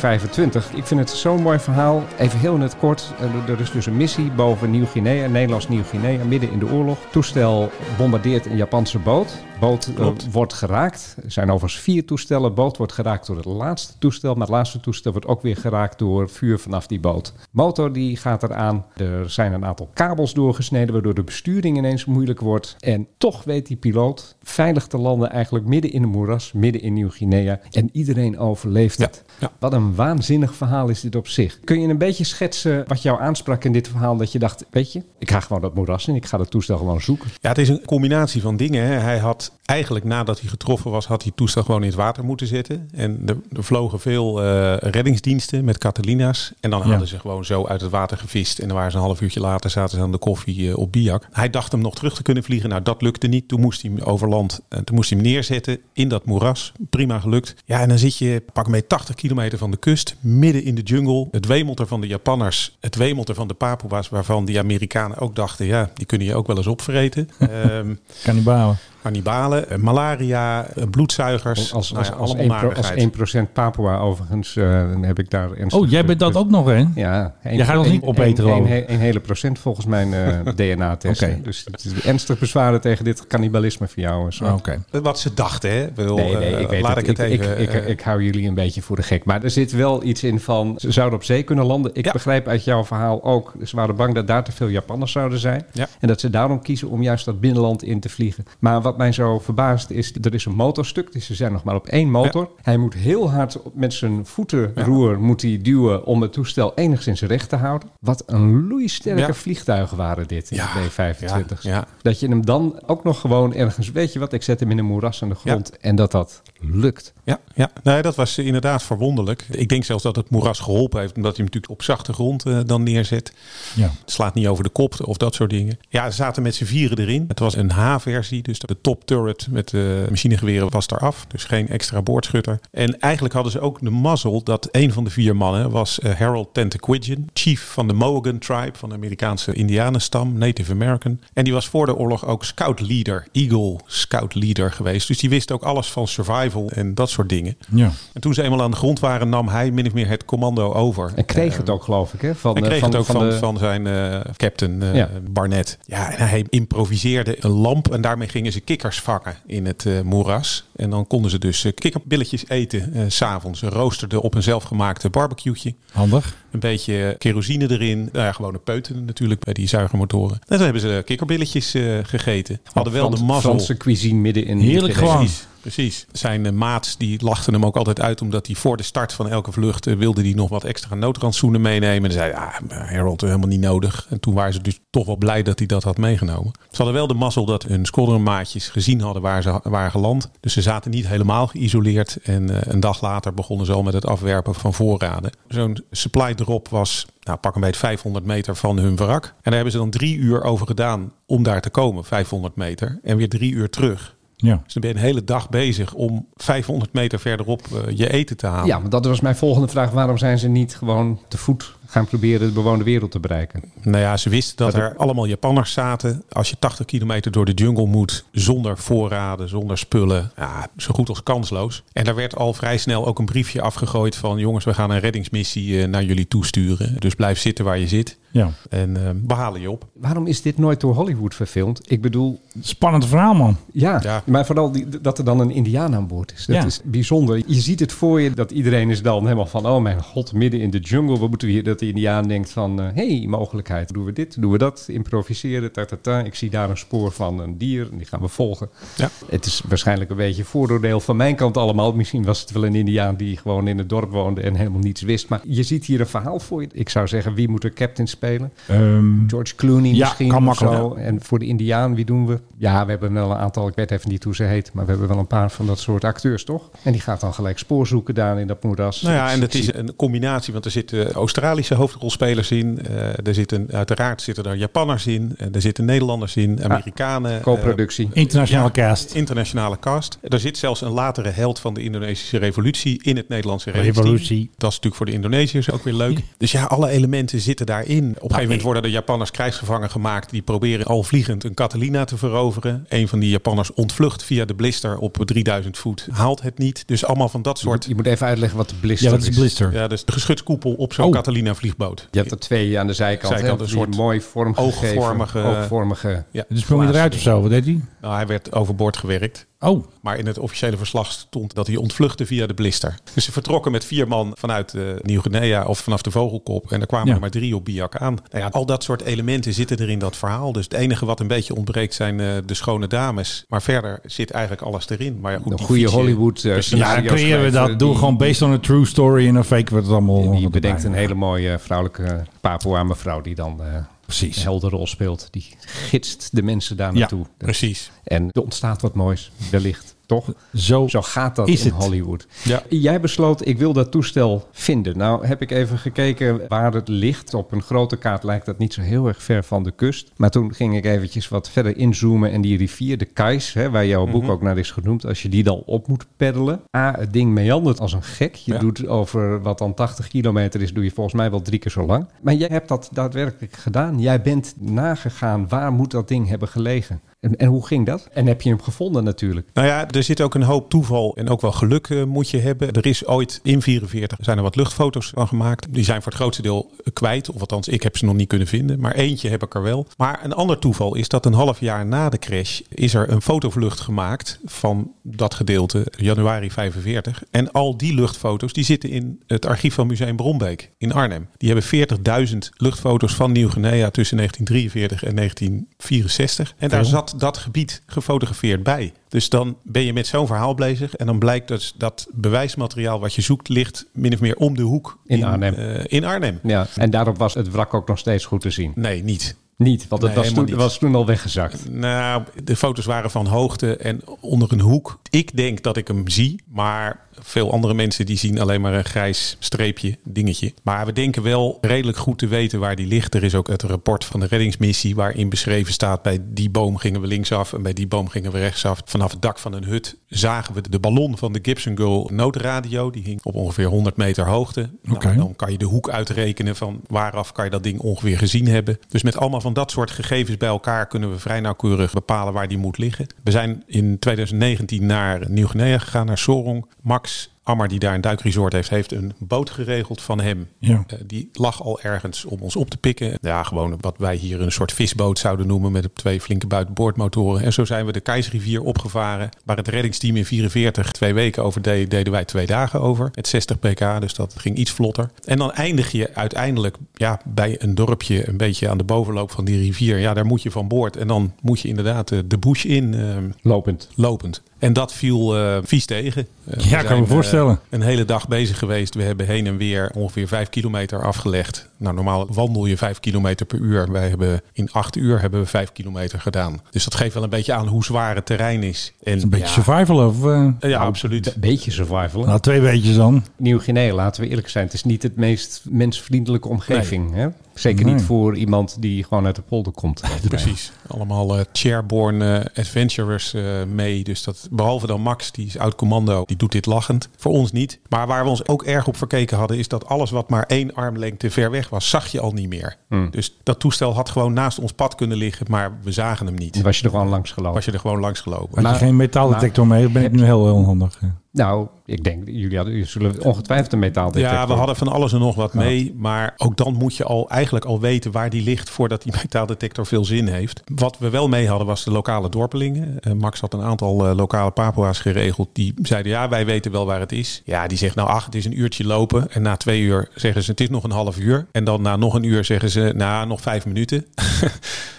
D: B-25. Ik vind het zo'n mooi verhaal. Even heel in het kort. Eh, Er is dus een missie boven Nieuw-Guinea, Nederlands Nieuw-Guinea, midden in de oorlog. Toestel bombardeert een Japanse boot. Boot eh,
B: Klopt.
D: wordt geraakt. Er zijn overigens vier toestellen. Boot wordt geraakt door het laatste toestel. Maar het laatste toestel wordt ook weer geraakt door vuur vanaf die boot. Motor die gaat eraan. Er zijn een aantal kabels doorgesneden, waardoor de besturing ineens moeilijk wordt. En toch weet die piloot veilig te landen eigenlijk midden in een moeras, midden in Nieuw-Guinea. En iedereen overleeft het.
B: ja.
D: Wat een waanzinnig verhaal is dit op zich. Kun je een beetje schetsen wat jou aansprak in dit verhaal? Dat je dacht, weet je, ik ga gewoon dat moeras in. Ik ga dat toestel gewoon zoeken.
B: Ja, het is een combinatie van dingen. Hè. Hij had eigenlijk nadat hij getroffen was, had hij het toestel gewoon in het water moeten zetten. En er, er vlogen veel eh, reddingsdiensten met Catalina's. En dan
C: Ja.
B: hadden ze gewoon zo uit het water gevist. En dan waren ze een half uurtje later, zaten ze aan de koffie eh, op Biak. Hij dacht hem nog terug te kunnen vliegen. Nou, dat lukte niet. Toen moest hij hem over land, eh, toen moest hij hem neerzetten in dat moeras. Prima gelukt. Ja, en dan zit je pak mee 80 kilometer van de kust, midden in de jungle. Het wemelt er van de Japanners, het wemelt er van de Papoea's, waarvan die Amerikanen ook dachten, ja, die kunnen je ook wel eens opvreten. Ehm,
C: Kan niet bouwen.
B: Cannibalen, eh, malaria, eh, bloedzuigers.
D: Als, als,
B: Nou ja,
D: als, als,
B: allemaal
D: 1%, pro- als
B: narigheid.
D: 1% Papua overigens eh, dan heb ik daar... ernstig-
C: Oh, jij bent dat ook nog, hè?
D: Ja, een,
C: Jij gaat ons
D: een-
C: niet opeten,
D: een,
C: geloof
D: een,
C: ik.
D: he- een hele procent volgens mijn eh, DNA-test.
C: Oké.
D: Dus het is ernstig bezwaren tegen dit cannibalisme van jou. en zo.
C: Ah, Oké.
B: Wat ze dachten, hè? Ik bedoel,
D: Nee, nee,
B: eh,
D: ik weet
B: laat
D: het.
B: ik het
D: ik,
B: even.
D: ik, ik,
B: eh,
D: ik hou jullie een beetje voor de gek. Maar er zit wel iets in van, ze zouden op zee kunnen landen. Ik
B: Ja.
D: begrijp uit jouw verhaal ook, ze waren bang dat daar te veel Japanners zouden zijn.
B: Ja.
D: En dat ze daarom kiezen om juist dat binnenland in te vliegen. Maar wat wat mij zo verbaast is, er is een motorstuk. Dus ze zijn nog maar op één motor. Hij moet heel hard op- met zijn voetenroer moet hij duwen om het toestel enigszins recht te houden. Wat een loeisterke
B: Ja.
D: vliegtuigen waren dit,
B: Ja,
D: de B-25's.
B: ja, ja.
D: Dat je hem dan ook nog gewoon ergens, weet je wat, ik zet hem in een moeras aan de grond. En dat dat lukt.
B: Ja, ja. Nee, dat was eh, inderdaad verwonderlijk. Ik denk zelfs dat het moeras geholpen heeft, omdat hij hem natuurlijk op zachte grond eh, dan neerzet.
C: Ja.
B: Het slaat niet over de kop of dat soort dingen. Ja, ze zaten met z'n vieren erin. Het was een H-versie, dus de top turret met de machinegeweren was eraf. Dus geen extra boordschutter. En eigenlijk hadden ze ook de mazzel dat een van de vier mannen was eh, Harold Tentaquidgeon, chief van de Mohegan Tribe, van de Amerikaanse Indianenstam, Native American. En die was voor de oorlog ook scout leader, Eagle scout leader geweest. Dus die wist ook alles van survival en dat soort dingen.
C: Ja.
B: En toen ze eenmaal aan de grond waren, nam hij min of meer het commando over.
D: En kreeg het ook, geloof ik, hè? Van,
B: Hij
D: eh,
B: kreeg
D: van,
B: het ook van, van,
D: de-
B: zijn eh, captain eh,
D: Ja.
B: Barnett. Ja, en hij improviseerde een lamp en daarmee gingen ze kikkers vangen in het eh, moeras. En dan konden ze dus eh, kikkerbilletjes eten eh, s s'avonds. Ze roosterden op een zelfgemaakte barbecue'tje.
C: Handig.
B: Een beetje eh, kerosine erin. Nou ja, gewone peuten natuurlijk bij die zuigermotoren. En toen hebben ze kikkerbilletjes eh, gegeten. Hadden wel
D: Frans-
B: de mazzel.
D: Franse cuisine midden in
C: Heerlijk
D: Midden-
C: gewoon.
B: Precies, precies. Zijn eh, maats die lachten hem ook altijd uit, omdat hij voor de start van elke vlucht eh, wilde hij nog wat extra noodrantsoenen meenemen. En zei, ah, maar Harold eh, helemaal niet nodig. En toen waren ze dus toch wel blij dat hij dat had meegenomen. Ze hadden wel de mazzel dat hun squadronmaatjes gezien hadden waar ze ha- waren geland. Dus ze zaten niet helemaal geïsoleerd. En eh, een dag later begonnen ze al met het afwerpen van voorraden. Zo'n supply drop was nou, pak een beetje 500 meter van hun wrak. En daar hebben ze dan drie uur over gedaan om daar te komen, 500 meter. En weer drie uur terug.
C: Ja.
B: Dus dan ben je een hele dag bezig om 500 meter verderop eh, je eten te halen.
D: Ja, maar dat was mijn volgende vraag. Waarom zijn ze niet gewoon te voet gaan proberen de bewoonde wereld te bereiken?
B: Nou ja, ze wisten dat er allemaal Japanners zaten. Als je 80 kilometer door de jungle moet, zonder voorraden, zonder spullen, ja, zo goed als kansloos. En daar werd al vrij snel ook een briefje afgegooid van... jongens, we gaan een reddingsmissie eh, naar jullie toesturen. Dus blijf zitten waar je zit
C: ja.
B: en eh, we halen je op.
D: Waarom is dit nooit door Hollywood verfilmd? Ik bedoel,
C: Spannend verhaal, man.
D: ja,
B: Ja.
D: maar vooral die, dat er dan een Indiaan aan boord is. Dat
C: Ja.
D: is bijzonder. Je ziet het voor je dat iedereen is dan helemaal van... oh mijn god, midden in de jungle, wat moeten we hier? Dat de Indiaan denkt van, eh, hey, mogelijkheid. Doen we dit, doen we dat, improviseren, ta, ta, ta. Ik zie daar een spoor van een dier en die gaan we volgen.
B: Ja.
D: Het is waarschijnlijk een beetje vooroordeel van mijn kant allemaal. Misschien was het wel een Indiaan die gewoon in het dorp woonde en helemaal niets wist. Maar je ziet hier een verhaal voor je. Ik zou zeggen, wie moet er captain spelen?
C: Ehm,
D: George Clooney
C: Ja,
D: misschien
C: kan
D: of
C: makkelijk,
D: zo. En voor de Indiaan, wie doen we? Ja, we hebben wel een aantal, ik weet even niet hoe ze heet, maar we hebben wel een paar van dat soort acteurs, toch? En die gaat dan gelijk spoor zoeken daar in dat moeras.
B: Nou ja,
D: Ik-
B: en dat
D: ik
B: is
D: zie-
B: een combinatie, want er zitten Australische hoofdrolspelers in. eh, er zitten, uiteraard zitten er Japanners in. en er zitten Nederlanders in, Amerikanen. eh,
D: Co-productie.
C: internationale
B: Ja,
C: cast.
B: Internationale cast. Er zit zelfs een latere held van de Indonesische revolutie in het Nederlandse revolutie.
C: Revolutie.
B: Dat is natuurlijk voor de Indonesiërs ook weer leuk. Dus ja, alle elementen zitten daarin. Op een gegeven moment worden de Japanners krijgsgevangen gemaakt. Die proberen al vliegend een Catalina te veroveren. Een van die Japanners ontvlucht via de blister op 3000 voet. Haalt het niet. Dus allemaal van dat soort...
D: Je moet even uitleggen wat de blister
C: Ja, dat is Blister.
B: Ja, dus de geschutskoepel op zo'n
C: Oh.
B: Catalina vliegboot.
D: Je hebt er twee aan de zijkant.
B: Zijkant,
D: hè, dus
B: een
D: die
B: soort
D: mooi vormgegeven,
B: oogvormige-
D: oogvormige
B: Ja.
C: Dus sprong hij eruit of zo? Wat deed hij?
B: Nou, hij werd overboord gewerkt.
C: Oh,
B: Maar in het officiële verslag stond dat hij ontvluchtte via de blister. Dus ze vertrokken met vier man vanuit eh, Nieuw-Guinea of vanaf de Vogelkop. En er kwamen
C: Ja.
B: er maar drie op Biak aan. Nou ja, al dat soort elementen zitten er in dat verhaal. Dus het enige wat een beetje ontbreekt zijn eh, de schone dames. Maar verder zit eigenlijk alles erin. Maar ja, goed,
D: Een
B: die
D: goede
B: fietsen-
D: Hollywood, eh,
B: Precies.
D: scenario.
C: ja, eh, dan
D: Mario's
C: creëren we
D: schrijver,
C: dat. Doen we
D: die-
C: gewoon based on a true story en dan faken we het allemaal.
D: Die
C: erbij.
D: bedenkt een hele mooie vrouwelijke Papua mevrouw die dan eh
C: Precies.
D: een helder rol speelt. Die gidst de mensen daar
C: Ja,
D: naartoe.
B: Precies.
D: En er ontstaat wat moois, wellicht, toch?
C: Zo
D: Zo gaat dat
C: is
D: in
C: het.
D: Hollywood.
B: Ja.
D: Jij besloot, ik wil dat toestel vinden. Nou heb ik even gekeken waar het ligt. Op een grote kaart lijkt dat niet zo heel erg ver van de kust. Maar toen ging ik eventjes wat verder inzoomen. En die rivier, de Kais, hè, waar jouw boek
C: Mhm.
D: ook naar is genoemd. Als je die dan op moet peddelen. A, het ding meandert als een gek. Je
B: Ja.
D: doet over wat dan 80 kilometer is, doe je volgens mij wel drie keer zo lang. Maar jij hebt dat daadwerkelijk gedaan. Jij bent nagegaan, waar moet dat ding hebben gelegen? En, en hoe ging dat? En heb je hem gevonden natuurlijk?
B: Nou ja, er zit ook een hoop toeval en ook wel geluk eh, moet je hebben. Er is ooit in 44 zijn er wat luchtfoto's van gemaakt. Die zijn voor het grootste deel eh, kwijt. Of althans, ik heb ze nog niet kunnen vinden. Maar eentje heb ik er wel. Maar een ander toeval is dat een half jaar na de crash is er een fotovlucht gemaakt van dat gedeelte, januari 45. En al die luchtfoto's die zitten in het archief van Museum Brombeek in Arnhem. Die hebben 40.000 luchtfoto's van Nieuw-Guinea tussen 1943 en 1964. En daar zat zat dat gebied gefotografeerd bij. Dus dan ben je met zo'n verhaal bezig. En dan blijkt dat dat bewijsmateriaal wat je zoekt ligt min of meer om de hoek.
D: In Arnhem.
B: eh, in Arnhem.
D: Ja, en daarop was het wrak ook nog steeds goed te zien.
B: Nee, niet.
D: Niet, want het
B: Nee,
D: was,
B: helemaal
D: toen,
B: niet.
D: was toen al weggezakt.
B: Nou, de foto's waren van hoogte en onder een hoek. Ik denk dat ik hem zie, maar veel andere mensen die zien alleen maar een grijs streepje, dingetje. Maar we denken wel redelijk goed te weten waar die ligt. Er is ook het rapport van de reddingsmissie waarin beschreven staat... bij die boom gingen we linksaf en bij die boom gingen we rechtsaf. Vanaf het dak van een hut zagen we de ballon van de Gibson Girl noodradio. Die hing op ongeveer 100 meter hoogte. Nou,
C: Oké.
B: dan kan je de hoek uitrekenen van waaraf kan je dat ding ongeveer gezien hebben. Dus met allemaal van dat soort gegevens bij elkaar kunnen we vrij nauwkeurig bepalen waar die moet liggen. We zijn in 2019 naar Nieuw-Guinea gegaan, naar Sorong. Max Ammer, die daar een duikresort heeft, heeft een boot geregeld van hem.
C: Ja.
B: Eh, die lag al ergens om ons op te pikken. Ja, gewoon wat wij hier een soort visboot zouden noemen met op twee flinke buitenboordmotoren. En zo zijn we de Keisrivier opgevaren. Waar het reddingsteam in 44 twee weken over deed, deden wij twee dagen over. Met 60 pk, dus dat ging iets vlotter. En dan eindig je uiteindelijk ja, bij een dorpje een beetje aan de bovenloop van die rivier. Ja, daar moet je van boord. En dan moet je inderdaad eh, de bush in. ehm,
D: Lopend.
B: lopend. En dat viel eh, vies tegen. Eh, we
C: Ja, kan
B: zijn,
C: me voorstellen.
B: eh, een hele dag bezig geweest. We hebben heen en weer ongeveer vijf kilometer afgelegd. Nou, normaal wandel je vijf kilometer per uur. Wij hebben in acht uur hebben we vijf kilometer gedaan. Dus dat geeft wel een beetje aan hoe zwaar het terrein is. En
C: Een beetje
B: ja,
C: survival of... eh,
B: eh, Ja, absoluut.
D: Een beetje survival.
B: Ah.
C: nou, twee beetjes dan.
D: Nieuw-Guinea, laten we eerlijk zijn, het is niet het meest mensvriendelijke omgeving. Hè? Zeker
C: Nee.
D: niet voor iemand die gewoon uit de polder komt.
B: Precies. Allemaal eh, Chairborn eh, adventurers eh, mee. Dus dat, behalve dan Max, die is oud commando, die doet dit lachend. Voor ons niet. Maar waar we ons ook erg op verkeken hadden, is dat alles wat maar één armlengte ver weg was, zag je al niet meer. Dus dat toestel had gewoon naast ons pad kunnen liggen, maar we zagen hem niet.
D: Was je er gewoon langs gelopen?
B: Was je er gewoon langs gelopen.
C: Had je geen metaaldetector mee, ben ik nu heel, heel onhandig. eh.
D: Nou, ik denk, jullie, hadden, jullie zullen ongetwijfeld een metaaldetector.
B: Ja, we hadden van alles en nog wat mee. Maar ook dan moet je al eigenlijk al weten waar die ligt voordat die metaaldetector veel zin heeft. Wat we wel mee hadden was de lokale dorpelingen. Eh, Max had een aantal eh, lokale Papua's geregeld. Die zeiden ja, wij weten wel waar het is. Ja, die zegt nou ach, het is een uurtje lopen. En na twee uur zeggen ze het is nog een half uur. En dan na nog een uur zeggen ze nou nog vijf minuten.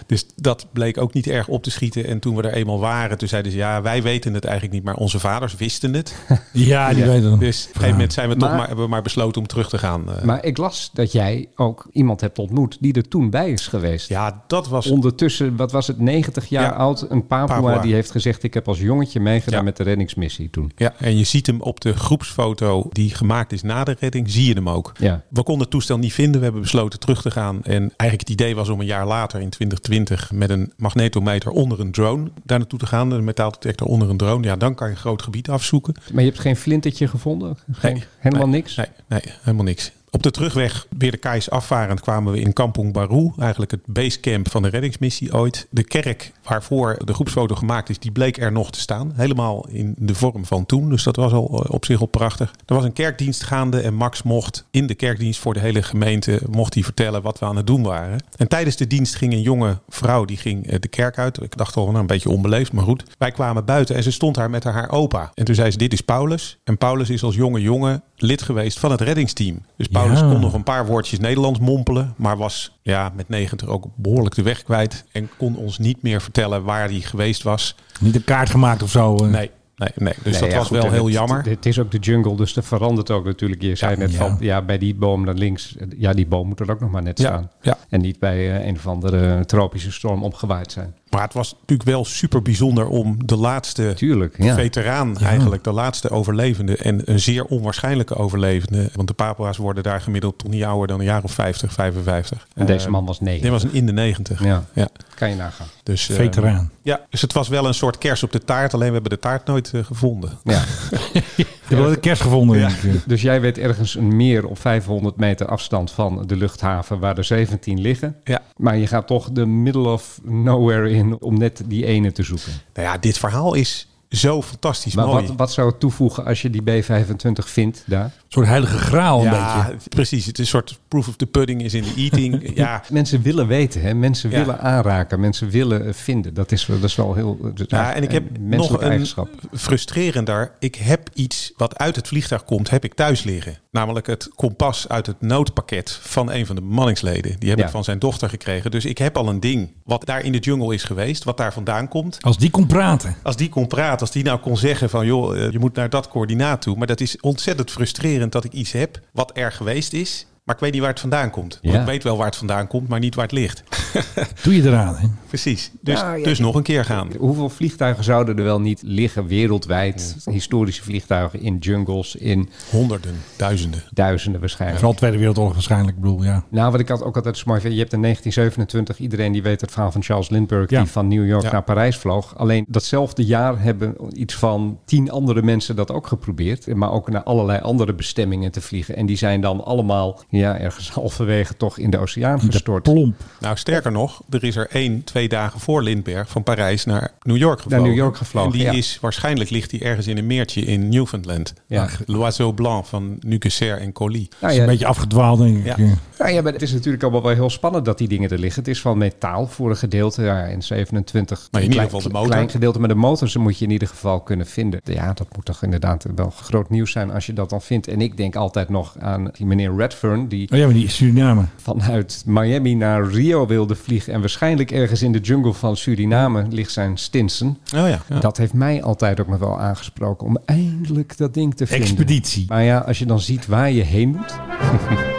B: dus dat bleek ook niet erg op te schieten. En toen we er eenmaal waren, toen zeiden ze ja, wij weten het eigenlijk niet. Maar onze vaders wisten het.
C: Ja, die weten nog.
B: Dus op een gegeven moment zijn we toch
D: Maar-
B: maar, hebben we maar besloten om terug te gaan. eh.
D: Maar ik las dat jij ook iemand hebt ontmoet die er toen bij is geweest.
B: Ja, dat was.
D: Ondertussen, wat was het, 90 jaar
B: Ja.
D: oud, een Papua,
B: Papua.
D: die heeft gezegd... ik heb als jongetje meegedaan
B: Ja.
D: met de reddingsmissie toen.
B: Ja, en je ziet hem op de groepsfoto die gemaakt is na de redding, zie je hem ook.
D: Ja.
B: We konden het toestel niet vinden, we hebben besloten terug te gaan. En eigenlijk het idee was om een jaar later, in 2020, met een magnetometer onder een drone daar naartoe te gaan. Een metaaldetector onder een drone. Ja, dan kan je een groot gebied afzoeken.
D: Maar je hebt geen flintertje gevonden? Geen,
B: Nee.
D: helemaal
B: Nee,
D: niks?
B: Nee, nee, helemaal niks. Op de terugweg, weer de kais afvarend, kwamen we in Kampong Baru. Eigenlijk het basecamp van de reddingsmissie ooit. De kerk waarvoor de groepsfoto gemaakt is, die bleek er nog te staan. Helemaal in de vorm van toen. Dus dat was al eh, op zich al prachtig. Er was een kerkdienst gaande en Max mocht in de kerkdienst voor de hele gemeente... mocht hij vertellen wat we aan het doen waren. En tijdens de dienst ging een jonge vrouw, die ging eh, de kerk uit. Ik dacht al, nou, een beetje onbeleefd, maar goed. Wij kwamen buiten en ze stond daar met haar, haar opa. En toen zei ze, dit is Paulus. En Paulus is als jonge jongen lid geweest van het reddingsteam. Dus Paulus
C: Ja.
B: kon nog een paar woordjes Nederlands mompelen. Maar was ja, met 90 ook behoorlijk de weg kwijt. En kon ons niet meer vertellen waar hij geweest was.
C: Niet een kaart gemaakt of zo. eh.
B: Nee, nee, nee. Dus
D: Nee,
B: dat
D: ja,
B: was
D: goed,
B: wel
D: en
B: heel
D: het-
B: jammer.
D: Het, het is ook de jungle, dus dat verandert ook natuurlijk. Je zei net
C: ja.
D: van, ja, bij die boom naar links. Ja, die boom moet er ook nog maar net
B: Ja,
D: staan.
B: ja.
D: En niet bij eh, een of andere tropische storm opgewaaid zijn.
B: Maar het was natuurlijk wel super bijzonder om de laatste
D: Tuurlijk, ja.
B: veteraan eigenlijk, de laatste overlevende en een zeer onwaarschijnlijke overlevende. Want de Papua's worden daar gemiddeld toch niet ouder dan een jaar of 50, 55.
D: En deze man was
B: Dit
D: negen.
B: was een in de 90.
D: Ja.
B: ja.
D: Kan je nagaan.
B: Dus, eh,
C: Veteraan.
B: ja, dus het was wel een soort kers op de taart, alleen we hebben de taart nooit eh, gevonden.
D: Ja.
C: Je hebt wel de kerst gevonden. denk ik. eh.
D: Dus jij weet ergens een meer op 500 meter afstand van de luchthaven waar er 17 liggen.
B: Ja.
D: Maar je gaat toch de middle of nowhere in om net die ene te zoeken.
B: Nou ja, dit verhaal is zo fantastisch
D: Maar
B: mooi.
D: wat, wat zou het toevoegen als je die B25 vindt daar?
C: Een soort heilige graal een beetje.
B: ja, precies. Het is een soort proof of the pudding is in the eating. ja,
D: Mensen willen weten, hè? mensen
B: Ja.
D: willen aanraken, mensen willen eh, vinden. Dat is, wel- dat is wel heel dat is
B: Ja,
D: echt
B: en ik heb
D: een
B: nog
D: menselijke
B: een
D: eigenschap.
B: frustrerender. Ik heb iets wat uit het vliegtuig komt, heb ik thuis liggen. Namelijk het kompas uit het noodpakket van een van de bemanningsleden. Die heb
D: Ja.
B: ik van zijn dochter gekregen. Dus ik heb al een ding wat daar in de jungle is geweest. Wat daar vandaan komt.
C: Als die kon praten.
B: Als die kon praten, als die nou kon zeggen van joh, eh, je moet naar dat coördinaat toe. Maar dat is ontzettend frustrerend dat ik iets heb wat er geweest is. Maar ik weet niet waar het vandaan komt. Want
D: Ja.
B: Ik weet wel waar het vandaan komt, maar niet waar het ligt.
C: Doe je eraan, hè?
B: Precies. Dus,
D: Ja, ja.
B: dus nog een keer gaan.
D: Hoeveel vliegtuigen zouden er wel niet liggen wereldwijd? Historische vliegtuigen in jungles, in
B: Honderden, duizenden.
D: duizenden waarschijnlijk.
C: Vooral Tweede Wereldoorlog waarschijnlijk, ik bedoel, ja.
D: Nou, wat ik had ook altijd zo mooi vind, je hebt in 1927, iedereen die weet het verhaal van Charles Lindbergh,
C: Ja.
D: die van New York
B: Ja.
D: naar Parijs vloog. Alleen datzelfde jaar hebben iets van tien andere mensen dat ook geprobeerd, maar ook naar allerlei andere bestemmingen te vliegen. En die zijn dan allemaal ja, ergens halverwege toch in de oceaan
C: De
D: gestort.
C: plomp.
B: Nou, sterker nog, er is er één, twee dagen voor Lindbergh van Parijs naar New York gevlogen.
D: New York gevlogen,
B: En die
D: ja.
B: is waarschijnlijk ligt die ergens in een meertje in Newfoundland.
D: Ja.
B: Ja. L'Oiseau Blanc van Nucasser en Collie.
D: Nou
C: is
D: ja,
C: een beetje afgedwaald, denk ik. eh.
B: Ja.
D: Nou ja, maar het is natuurlijk allemaal wel heel spannend dat die dingen er liggen. Het is van metaal voor een gedeelte. Ja, in 27.
B: Maar in
D: een
B: ieder
D: klein-
B: geval de motor.
D: Klein gedeelte, maar de motors moet je in ieder geval kunnen vinden. Ja, dat moet toch inderdaad wel groot nieuws zijn als je dat dan vindt. En ik denk altijd nog aan die meneer Redfern, die
C: Oh ja, maar die is Suriname.
D: vanuit Miami naar Rio wilde vliegen. En waarschijnlijk ergens in de jungle van Suriname ligt zijn Stinson.
B: Oh ja. ja.
D: Dat heeft mij altijd ook nog wel aangesproken om eindelijk dat ding te vinden.
C: Expeditie.
D: Maar ja, als je dan ziet waar je heen moet.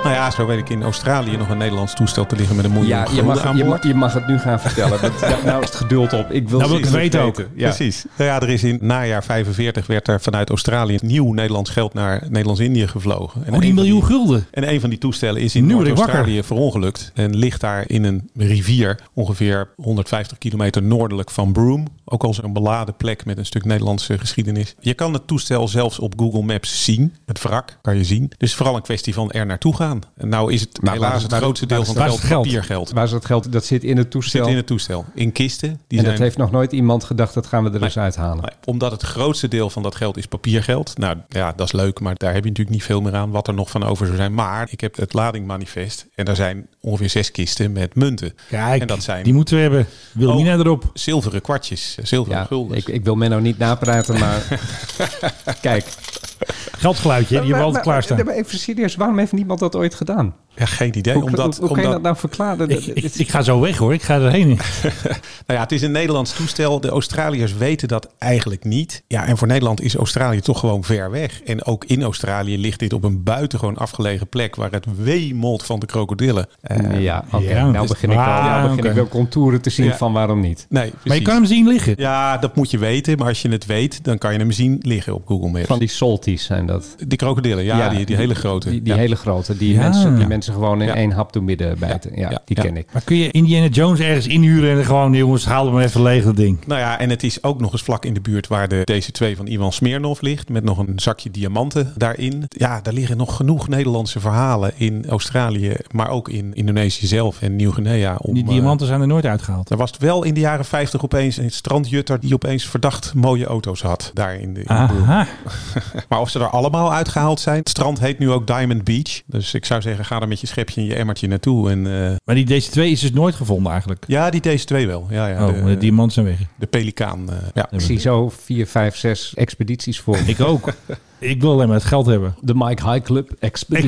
B: Nou ja, zo weet ik in Australië nog een Nederlands toestel te liggen met een miljoen
D: Ja, je
B: gulden
D: mag,
B: aan
D: je,
B: boord.
D: mag, je mag het nu gaan vertellen. want ja, nou is het geduld op. Ik wil
C: Nou wil ik het weten ook.
D: Ja.
B: Precies. Nou ja, er is in najaar 45 werd er vanuit Australië nieuw Nederlands geld naar Nederlands-Indië gevlogen. En
C: Oh, die
B: een van
C: miljoen gulden.
B: En een van die toestellen is in
C: Nu word ik
B: Noord-Australië verongelukt. En ligt daar in een rivier ongeveer 150 kilometer noordelijk van Broome. Ook al zo'n beladen plek met een stuk Nederlandse geschiedenis. Je kan het toestel zelfs op Google Maps zien. Het wrak kan je zien. Dus vooral een kwestie van er naartoe gaan. En nou is het
D: Maar waar
B: helaas
D: is-
B: het
D: waar-
B: grootste
D: waar
B: deel
D: is
B: van het
C: het-
B: geld
C: waar is het
B: papiergeld.
D: Waar is dat geld? Dat zit in het toestel.
B: Zit in het toestel. In kisten. Die
D: en
B: zijn
D: dat heeft nog nooit iemand gedacht, dat gaan we er eens uithalen.
B: Nee, Omdat het grootste deel van dat geld is papiergeld. Nou ja, dat is leuk, maar daar heb je natuurlijk niet veel meer aan wat er nog van over zou zijn. Maar ik heb het ladingmanifest en daar zijn ongeveer zes kisten met munten.
C: Kijk,
B: en dat zijn Oh.
C: die moeten we hebben. Wilmina erop.
B: zilveren kwartjes, eh, zilveren
D: Ja,
B: gulden.
D: ik, ik wil Menno niet napraten, maar kijk.
C: Geldgeluidje, die hebben we altijd klaarstaan.
D: Maar even serieus, waarom heeft niemand dat ooit gedaan?
B: Ja, geen idee.
D: Hoe,
B: omdat,
D: hoe, hoe kan je
B: omdat,
D: dat nou verklaren?
C: Ik, ik, ik ga zo weg hoor, ik ga erheen.
B: Nou ja, het is een Nederlands toestel. De Australiërs weten dat eigenlijk niet. Ja, en voor Nederland is Australië toch gewoon ver weg. En ook in Australië ligt dit op een buitengewoon afgelegen plek waar het weemelt van de krokodillen.
D: Eh, ja, oké.
C: ja,
D: nou
C: dus-
D: begin ik wel,
C: Ah,
D: nou begin
C: oké.
D: ik wel contouren te zien
B: Ja.
D: van waarom niet.
B: Nee, precies.
C: Maar je kan hem zien liggen.
B: Ja, dat moet je weten. Maar als je het weet, dan kan je hem zien liggen op Google Maps.
D: Van die solties zijn dat.
B: die krokodillen, ja, die, die hele grote.
D: Die, die
B: Ja.
D: hele grote, die,
C: Ja.
D: mensen, die mensen gewoon in
B: Ja.
D: één hap door midden bijten. Ja,
B: Ja.
D: die
B: Ja.
D: ken ik.
C: Maar kun je Indiana Jones ergens inhuren en dan gewoon, jongens, haal hem even leeg dat ding.
B: Nou ja, en het is ook nog eens vlak in de buurt waar de DC-2 van Ivan Smirnov ligt. Met nog een zakje diamanten daarin. Ja, daar liggen nog genoeg Nederlandse verhalen in Australië. Maar ook in Indonesië zelf en Nieuw-Guinea. om,
C: Die
B: eh,
C: diamanten zijn er nooit uitgehaald.
B: er was wel in de jaren 50 opeens een strandjutter die opeens verdacht mooie auto's had. Daar in de, in de buurt.
C: Aha.
B: Maar of ze er allemaal uitgehaald zijn. Het strand heet nu ook Diamond Beach. Dus ik zou zeggen, ga er met je schepje en je emmertje naartoe. En eh,
C: Maar die DC2 is dus nooit gevonden eigenlijk.
B: Ja, die deze twee wel. Ja, ja,
C: oh,
B: de, eh,
C: maar de diamanten zijn weg.
B: de pelikaan. eh, ja.
D: Ik zie zo vier, vijf, zes expedities voor.
C: Ik ook. ik wil alleen maar het geld hebben.
D: De Mike High Club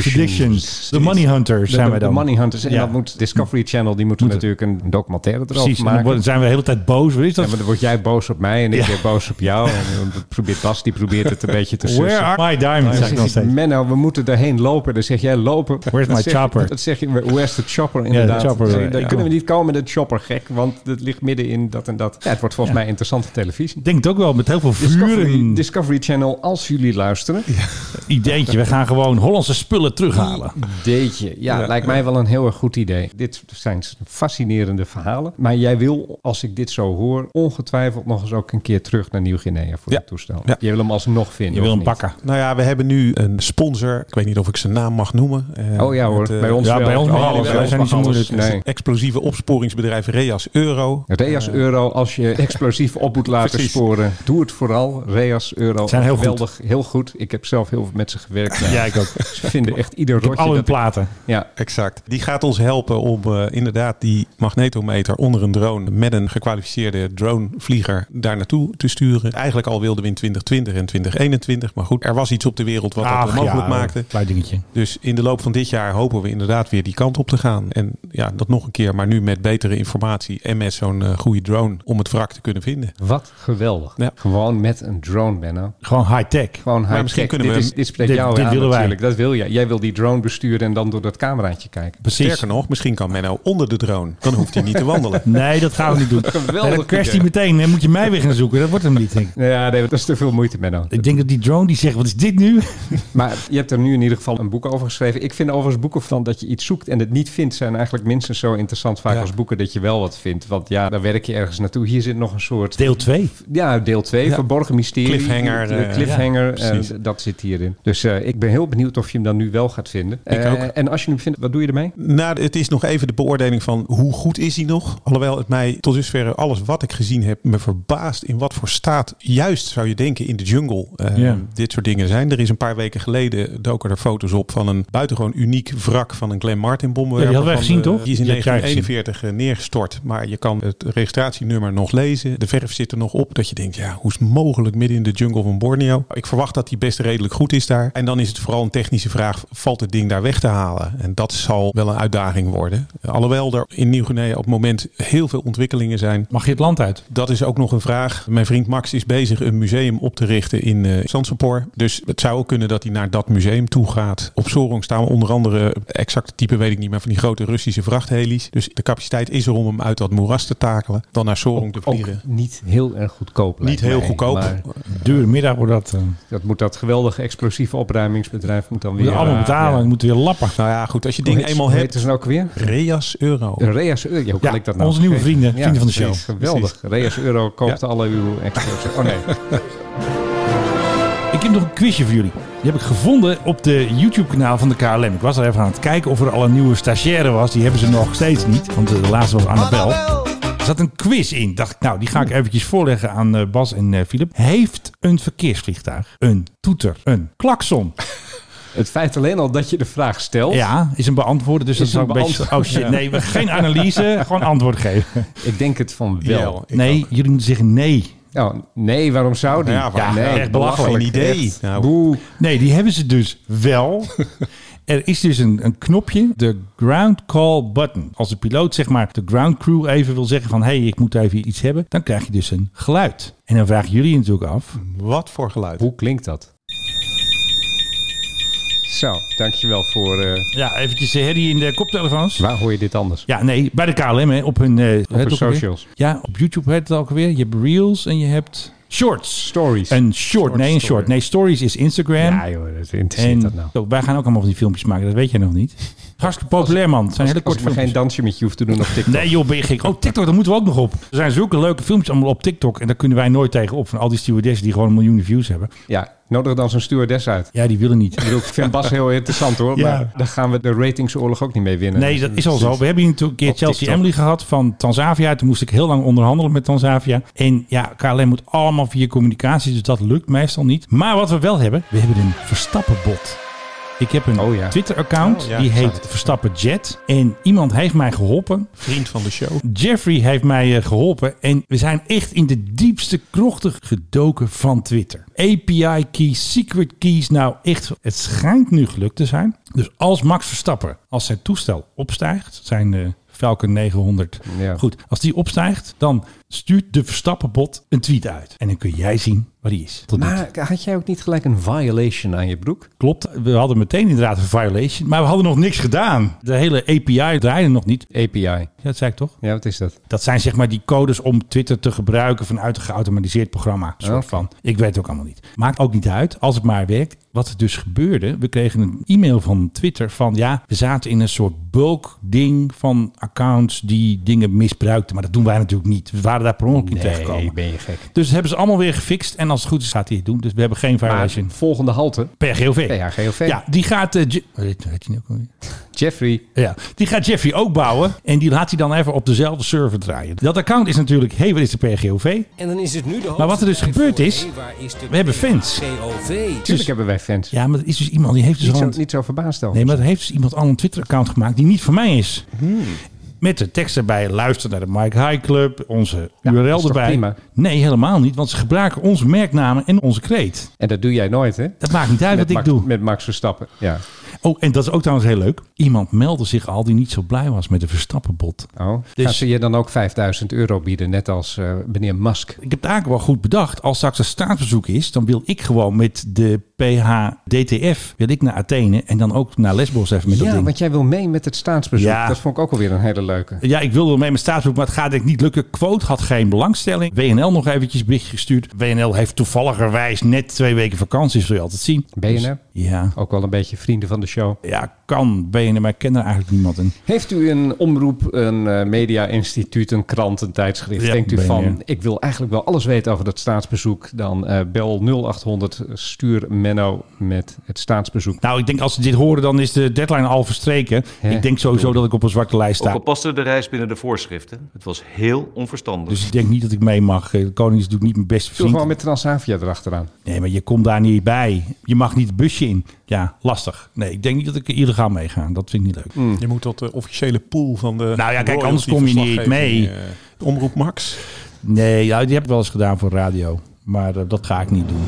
C: Expeditions. De Money Hunters
D: De,
C: zijn wij
D: de
C: dan.
D: Money Hunters. En
C: Ja.
D: dat moet Discovery Channel, die moeten
C: Moet het.
D: natuurlijk een documentaire erover
C: Precies, en dan
D: maken.
C: worden- zijn we de hele tijd boos. Wat is
D: Ja,
C: dat?
D: maar dan word jij boos op mij en ik weer boos op jou. En dan probeert Bas, die probeert het een beetje te sussen.
C: Where are my diamonds?
D: Dan
C: Zeg ik
D: zegt
C: nog
D: hij,
C: steeds.
D: Menno, we moeten daarheen lopen. Dan zeg jij lopen.
C: my
D: Dan zeg-
C: chopper?
D: Dat zeg je, where's the chopper inderdaad.
C: chopper,
D: Dan zeg je,
C: ja.
D: Daar kunnen we niet komen, de chopper gek. Want het ligt midden in dat en dat. Ja, het wordt volgens
C: Ja.
D: mij interessante televisie.
C: Ik denk het ook wel, met heel veel vuur
D: Discovery,
C: en
D: Discovery Channel, als jullie luisteren.
C: ideetje. We gaan gewoon Hollandse spullen terughalen.
D: Deetje. Ja, lijkt mij wel een heel erg goed idee. Dit zijn fascinerende verhalen. Maar jij wil, als ik dit zo hoor, ongetwijfeld nog eens ook een keer terug naar Nieuw-Guinea voor
B: Ja.
D: het toestel.
B: Ja.
D: Je wil hem alsnog vinden.
C: Je wil
D: of
C: hem
D: niet?
C: pakken.
B: Nou ja, we hebben nu een sponsor. Ik weet niet of ik zijn naam mag noemen. Eh,
D: Oh ja hoor,
B: het, eh,
D: bij ons
C: ja,
D: wel. Oh,
C: bij ons mag alles.
D: bij
C: Wij
D: ons
C: zijn niet
D: mag
C: zo
D: alles.
C: moeilijk.
D: Nee.
B: Explosieve opsporingsbedrijf Reas Euro.
D: Reas
C: Eh.
D: Euro, als je explosief op moet laten
B: Precies.
D: sporen, doe het vooral. Reas Euro,
C: Zijn heel
D: geweldig, heel goed. goed. Ik heb zelf heel veel met ze gewerkt.
C: Ja, ik ook.
D: Ze vinden echt ieder
C: Op
D: rotje.
C: al hun
D: dat ik-
C: platen.
D: ja,
B: Exact. Die gaat ons helpen om eh, inderdaad die magnetometer onder een drone met een gekwalificeerde dronevlieger daar naartoe te sturen. Eigenlijk al wilden we in 2020 en 2021, maar goed, er was iets op de wereld wat dat onmogelijk maakte.
C: Klein dingetje.
B: Dus in de loop van dit jaar hopen we inderdaad weer die kant op te gaan. En ja, dat nog een keer, maar nu met betere informatie en met zo'n eh, goede drone om het wrak te kunnen vinden.
D: wat geweldig.
B: Ja.
D: Gewoon met een drone, Benno.
C: Gewoon high-tech.
D: Gewoon high
B: misschien kunnen
D: dit,
B: we-
D: is, dit spreekt
C: dit-
D: jou
C: dit
D: aan
C: willen wij.
D: natuurlijk. Dat wil jij. Jij wil die drone besturen en dan door dat cameraatje kijken.
C: Precies.
B: Sterker nog, misschien kan men nou onder de drone. Dan hoeft hij niet te wandelen.
C: Nee, dat gaan we niet doen. Nee, dan crasht hij
D: idee.
C: meteen. Dan moet je mij weer gaan zoeken. Dat wordt hem niet. Denk ik.
D: Ja, nee, dat is te veel moeite, Benno.
C: ik denk dat die drone die zegt, wat is dit nu?
D: Maar je hebt er nu in ieder geval een boek over geschreven. Ik vind overigens boeken van dat je iets zoekt en het niet vindt... zijn eigenlijk minstens zo interessant vaak
B: Ja.
D: als boeken dat je wel wat vindt. Want ja, daar werk je ergens naartoe. Hier zit nog een soort...
C: Deel 2.
D: Ja, deel 2,
B: Ja.
D: verborgen mysterie.
B: Cliffhanger,
D: De- de
B: eh, ja,
D: cliffhanger,
B: precies.
D: eh, dat zit hierin. Dus eh, ik ben heel benieuwd of je hem dan nu wel gaat vinden.
B: Ik
D: Eh,
B: ook.
D: En als je hem vindt, wat doe je ermee?
B: Nou, het is nog even de beoordeling van hoe goed is hij nog. Alhoewel het mij tot dusver alles wat ik gezien heb me verbaast in wat voor staat juist zou je denken in de jungle eh,
C: Ja.
B: dit soort dingen zijn. Er is een paar weken geleden doken er foto's op van een buitengewoon uniek wrak van een Glen Martin bommenwerper.
C: Ja, die hadden wij
B: eh, van
C: gezien,
B: de-
C: toch?
B: Die is in
C: Die heb jij
B: 1941 eh, neergestort, maar je kan het registratienummer nog lezen. De verf zit er nog op dat je denkt, ja, hoe is het mogelijk midden in de jungle van Borneo? Ik verwacht dat die best redelijk goed is daar. En dan is het vooral een technische vraag, valt het ding daar weg te halen? En dat zal wel een uitdaging worden. Alhoewel er in Nieuw-Guinea op het moment heel veel ontwikkelingen zijn.
C: Mag je het land uit?
B: Dat is ook nog een vraag. Mijn vriend Max is bezig een museum op te richten in eh Sansepor. Dus het zou ook kunnen dat hij naar dat museum toe gaat. Op Sorong staan we onder andere, exacte type weet ik niet, maar van die grote Russische vrachthelies. Dus de capaciteit is er om hem uit dat moeras te takelen. Dan naar Sorong te
D: Ook
B: vliegen.
D: niet heel erg goedkoop.
B: Niet
D: lijkt
B: heel
D: mij.
B: goedkoop.
D: Maar
C: Dure middag wordt dat. eh,
D: dat moet dat geweldige explosieve opruimingsbedrijf moet dan
C: we
D: weer... eh,
C: moeten allemaal betalen.
D: Ja.
C: We moeten weer lappen.
B: Nou ja, goed, als je
D: Hoe
B: ding
D: heet-
B: eenmaal
D: hoe heet
B: hebt.
D: ze nou ook weer?
B: Reas euro.
D: Reas Euro. Ja, hoe
C: Ja,
D: kan ik dat nou
C: onze nieuwe
D: vergeten?
C: vrienden, vrienden van de
D: precies.
C: show.
D: Geweldig. Reas Euro koopt alle uw extra's. Oh nee.
C: Ik heb nog een quizje voor jullie. Die heb ik gevonden op de YouTube-kanaal van de KLM. Ik was er even aan het kijken of er al een nieuwe stagiaire was. Die hebben ze nog steeds niet, want eh, de laatste was Annabel. Er zat een quiz in. Dacht ik, nou, die ga ik eventjes voorleggen aan eh, Bas en eh, Filip. Heeft een verkeersvliegtuig een toeter, een klakson?
D: Het feit alleen al dat je de vraag stelt.
C: Ja, is een beantwoorden. Dus dat
D: Is
C: is ook
D: een
C: een beetje... Oh
D: beantwoord,
C: shit, nee, we, geen analyse. gewoon antwoord geven.
D: Ik denk het van wel.
B: Ik
C: nee, jullie moeten zeggen nee.
D: Oh, nee, waarom zou die?
B: Nou Ja, waarom-
D: nee,
C: echt belachelijk.
B: Geen idee.
D: Echt.
B: Nou.
D: Boe.
C: Nee, die hebben ze dus wel. Er is dus een, een knopje, de ground call button. Als de piloot zeg maar de ground crew even wil zeggen van... hé, hey, ik moet even iets hebben, dan krijg je dus een geluid. En dan vragen jullie je natuurlijk af...
B: Wat voor geluid?
D: Hoe klinkt dat? Zo, dankjewel voor... eh,
C: Ja, eventjes de herrie in de koptelefoons.
D: waar hoor je dit anders?
C: Ja, nee, bij de KLM hè, op hun... eh, hoe heet
D: hun
C: het ook alweer?
D: socials.
C: Ja, op YouTube heet het ook alweer. Je hebt reels en je hebt shorts.
D: Stories.
C: Een short, nee een short. Nee, stories is Instagram.
D: Ja joh, dat interesseert
C: en
D: dat nou.
C: Zo, wij gaan ook allemaal van die filmpjes maken, dat weet jij nog niet. Hartstikke populair man, het zijn hele
D: Als
C: korte
D: ik maar geen
C: filmpjes.
D: dansje met je hoef te doen op TikTok.
C: Nee joh, ben je gek. Oh, TikTok, daar moeten we ook nog op. Er zijn zulke leuke filmpjes allemaal op TikTok. En daar kunnen wij nooit tegen op. Van al die stewardessen die gewoon miljoenen views hebben.
D: Ja, nodig dan zo'n stewardess uit.
C: Ja, die willen niet.
D: Ik bedoel, ik vind Bas heel interessant hoor.
C: Ja.
D: Maar daar gaan we de ratingsoorlog ook niet mee winnen.
C: Nee, dat is al zo. We hebben hier natuurlijk een keer
D: Op
C: Chelsea
D: TikTok.
C: Emily gehad van Tanzavia. Toen moest ik heel lang onderhandelen met Tanzavia. En ja, KLM moet allemaal via communicatie. Dus dat lukt meestal niet. Maar wat we wel hebben, we hebben een Verstappenbot. Ik heb een
D: Oh ja.
C: Twitter-account.
B: Oh ja,
C: die
B: ik zag
C: heet Verstappen Jet. En iemand heeft mij geholpen.
B: Vriend van de show.
C: Jeffrey heeft mij eh, geholpen en we zijn echt in de diepste krochten gedoken van Twitter. API keys, secret keys, nou echt, het schijnt nu gelukt te zijn. Dus als Max Verstappen, als zijn toestel opstijgt, zijn eh, Falcon 900,
D: Ja.
C: goed, als die opstijgt, dan stuurt de Verstappenbot een tweet uit. En dan kun jij zien waar die is. Tot nu toe.
D: Maar had jij ook niet gelijk een violation aan je broek?
C: Klopt, we hadden meteen inderdaad een violation, maar we hadden nog niks gedaan. De hele API draaide nog niet.
D: API.
C: Ja, dat zei ik toch?
D: Ja, wat is dat?
C: Dat zijn zeg maar die codes om Twitter te gebruiken vanuit een geautomatiseerd programma. Soort
D: Oké.
C: van. Ik weet het ook allemaal niet. Maakt ook niet uit, als het maar werkt. Wat er dus gebeurde, we kregen een e-mail van Twitter van ja, we zaten in een soort bulk ding van accounts die dingen misbruikten. Maar dat doen wij natuurlijk niet. We waren waren daar per ongeluk in terechtgekomen.
D: Nee, ben je gek.
C: Dus hebben ze allemaal weer gefixt. En als het goed is, gaat hij het doen. Dus we hebben geen
D: Maar
C: violation.
D: volgende halte,
C: PRGOV.
D: PHGOV.
C: Ja, die gaat, eh, Je- hoe heet- hoe heet die nou ook alweer?
D: Jeffrey.
C: ja, die gaat Jeffrey ook bouwen. En die laat hij dan even op dezelfde server draaien. Dat account is natuurlijk, hey, wat is de PRGOV?
H: En dan is het nu de
C: Maar wat er dus
H: hoogste
C: gebeurd
H: tijd voor
C: is,
H: Hey, waar is de
C: we hebben fans.
H: PHGOV.
D: Tuurlijk hebben wij fans.
C: Ja, maar er is dus iemand die heeft dus
D: Niet
C: al
D: zo,
C: een,
D: niet zo verbaasd over.
C: Nee, maar er heeft dus iemand al een Twitter-account gemaakt die niet van mij is.
D: Hmm.
C: Met de tekst erbij, luister naar de Mike High Club, onze
D: Ja, dat is
C: URL
D: toch
C: erbij.
D: prima?
C: Nee, helemaal niet, want ze gebruiken onze merknamen en onze kreet.
D: En dat doe jij nooit, hè?
C: Dat maakt niet uit
D: met
C: wat
D: Max,
C: ik doe.
D: Met Max Verstappen, ja.
C: Oh, en dat is ook trouwens heel leuk. Iemand meldde zich al die niet zo blij was met de Verstappenbot.
D: Oh.
C: Dus-
D: Gaan ze je dan ook 5000 euro bieden, net als eh, meneer Musk?
C: Ik heb het eigenlijk wel goed bedacht. Als straks een staatsbezoek is, dan wil ik gewoon met de PHDTF wil ik naar Athene en dan ook naar Lesbos even met dat
D: Ja,
C: ding.
D: want jij wil mee met het staatsbezoek.
C: Ja.
D: Dat vond ik ook alweer een hele leuke.
C: Ja, ik wilde wel mee met staatsbezoek, maar het gaat denk ik niet lukken. Quote had geen belangstelling. WNL nog eventjes bericht gestuurd. WNL heeft toevalligerwijs net twee weken vakantie, zul je altijd zien.
D: BNR,
C: Ja,
D: ook wel een beetje vrienden van de show.
C: ja kan BNR, maar ik ken er eigenlijk niemand in.
D: Heeft u een omroep, een eh, media-instituut, een krant, een tijdschrift?
C: Ja,
D: Denkt u
C: ben je.
D: van, ik wil eigenlijk wel alles weten over dat staatsbezoek? Dan eh, bel 0800, stuur Menno met het staatsbezoek.
C: Nou, ik denk als ze dit horen, dan is de deadline al verstreken.
D: Hè?
C: Ik denk sowieso dat ik op een zwarte lijst
I: Ook
C: sta.
I: al paste de reis binnen de voorschriften, het was heel onverstandig.
C: Dus ik denk niet dat ik mee mag. Eh, De koning is natuurlijk niet mijn beste
D: Doe
C: vriend.
D: gewoon met Transavia erachteraan.
C: Nee, maar je komt daar niet bij. Je mag niet het busje in. Ja, lastig. Nee, ik denk niet dat ik illegaal meega. Dat vind ik niet leuk.
B: Je moet tot de officiële pool van de.
C: Nou ja, kijk, anders kom je niet
B: royalty-verslaggeving, eh, Omroep Max.
C: Nee, ja, die heb ik wel eens gedaan voor radio. Maar eh, dat ga ik niet doen.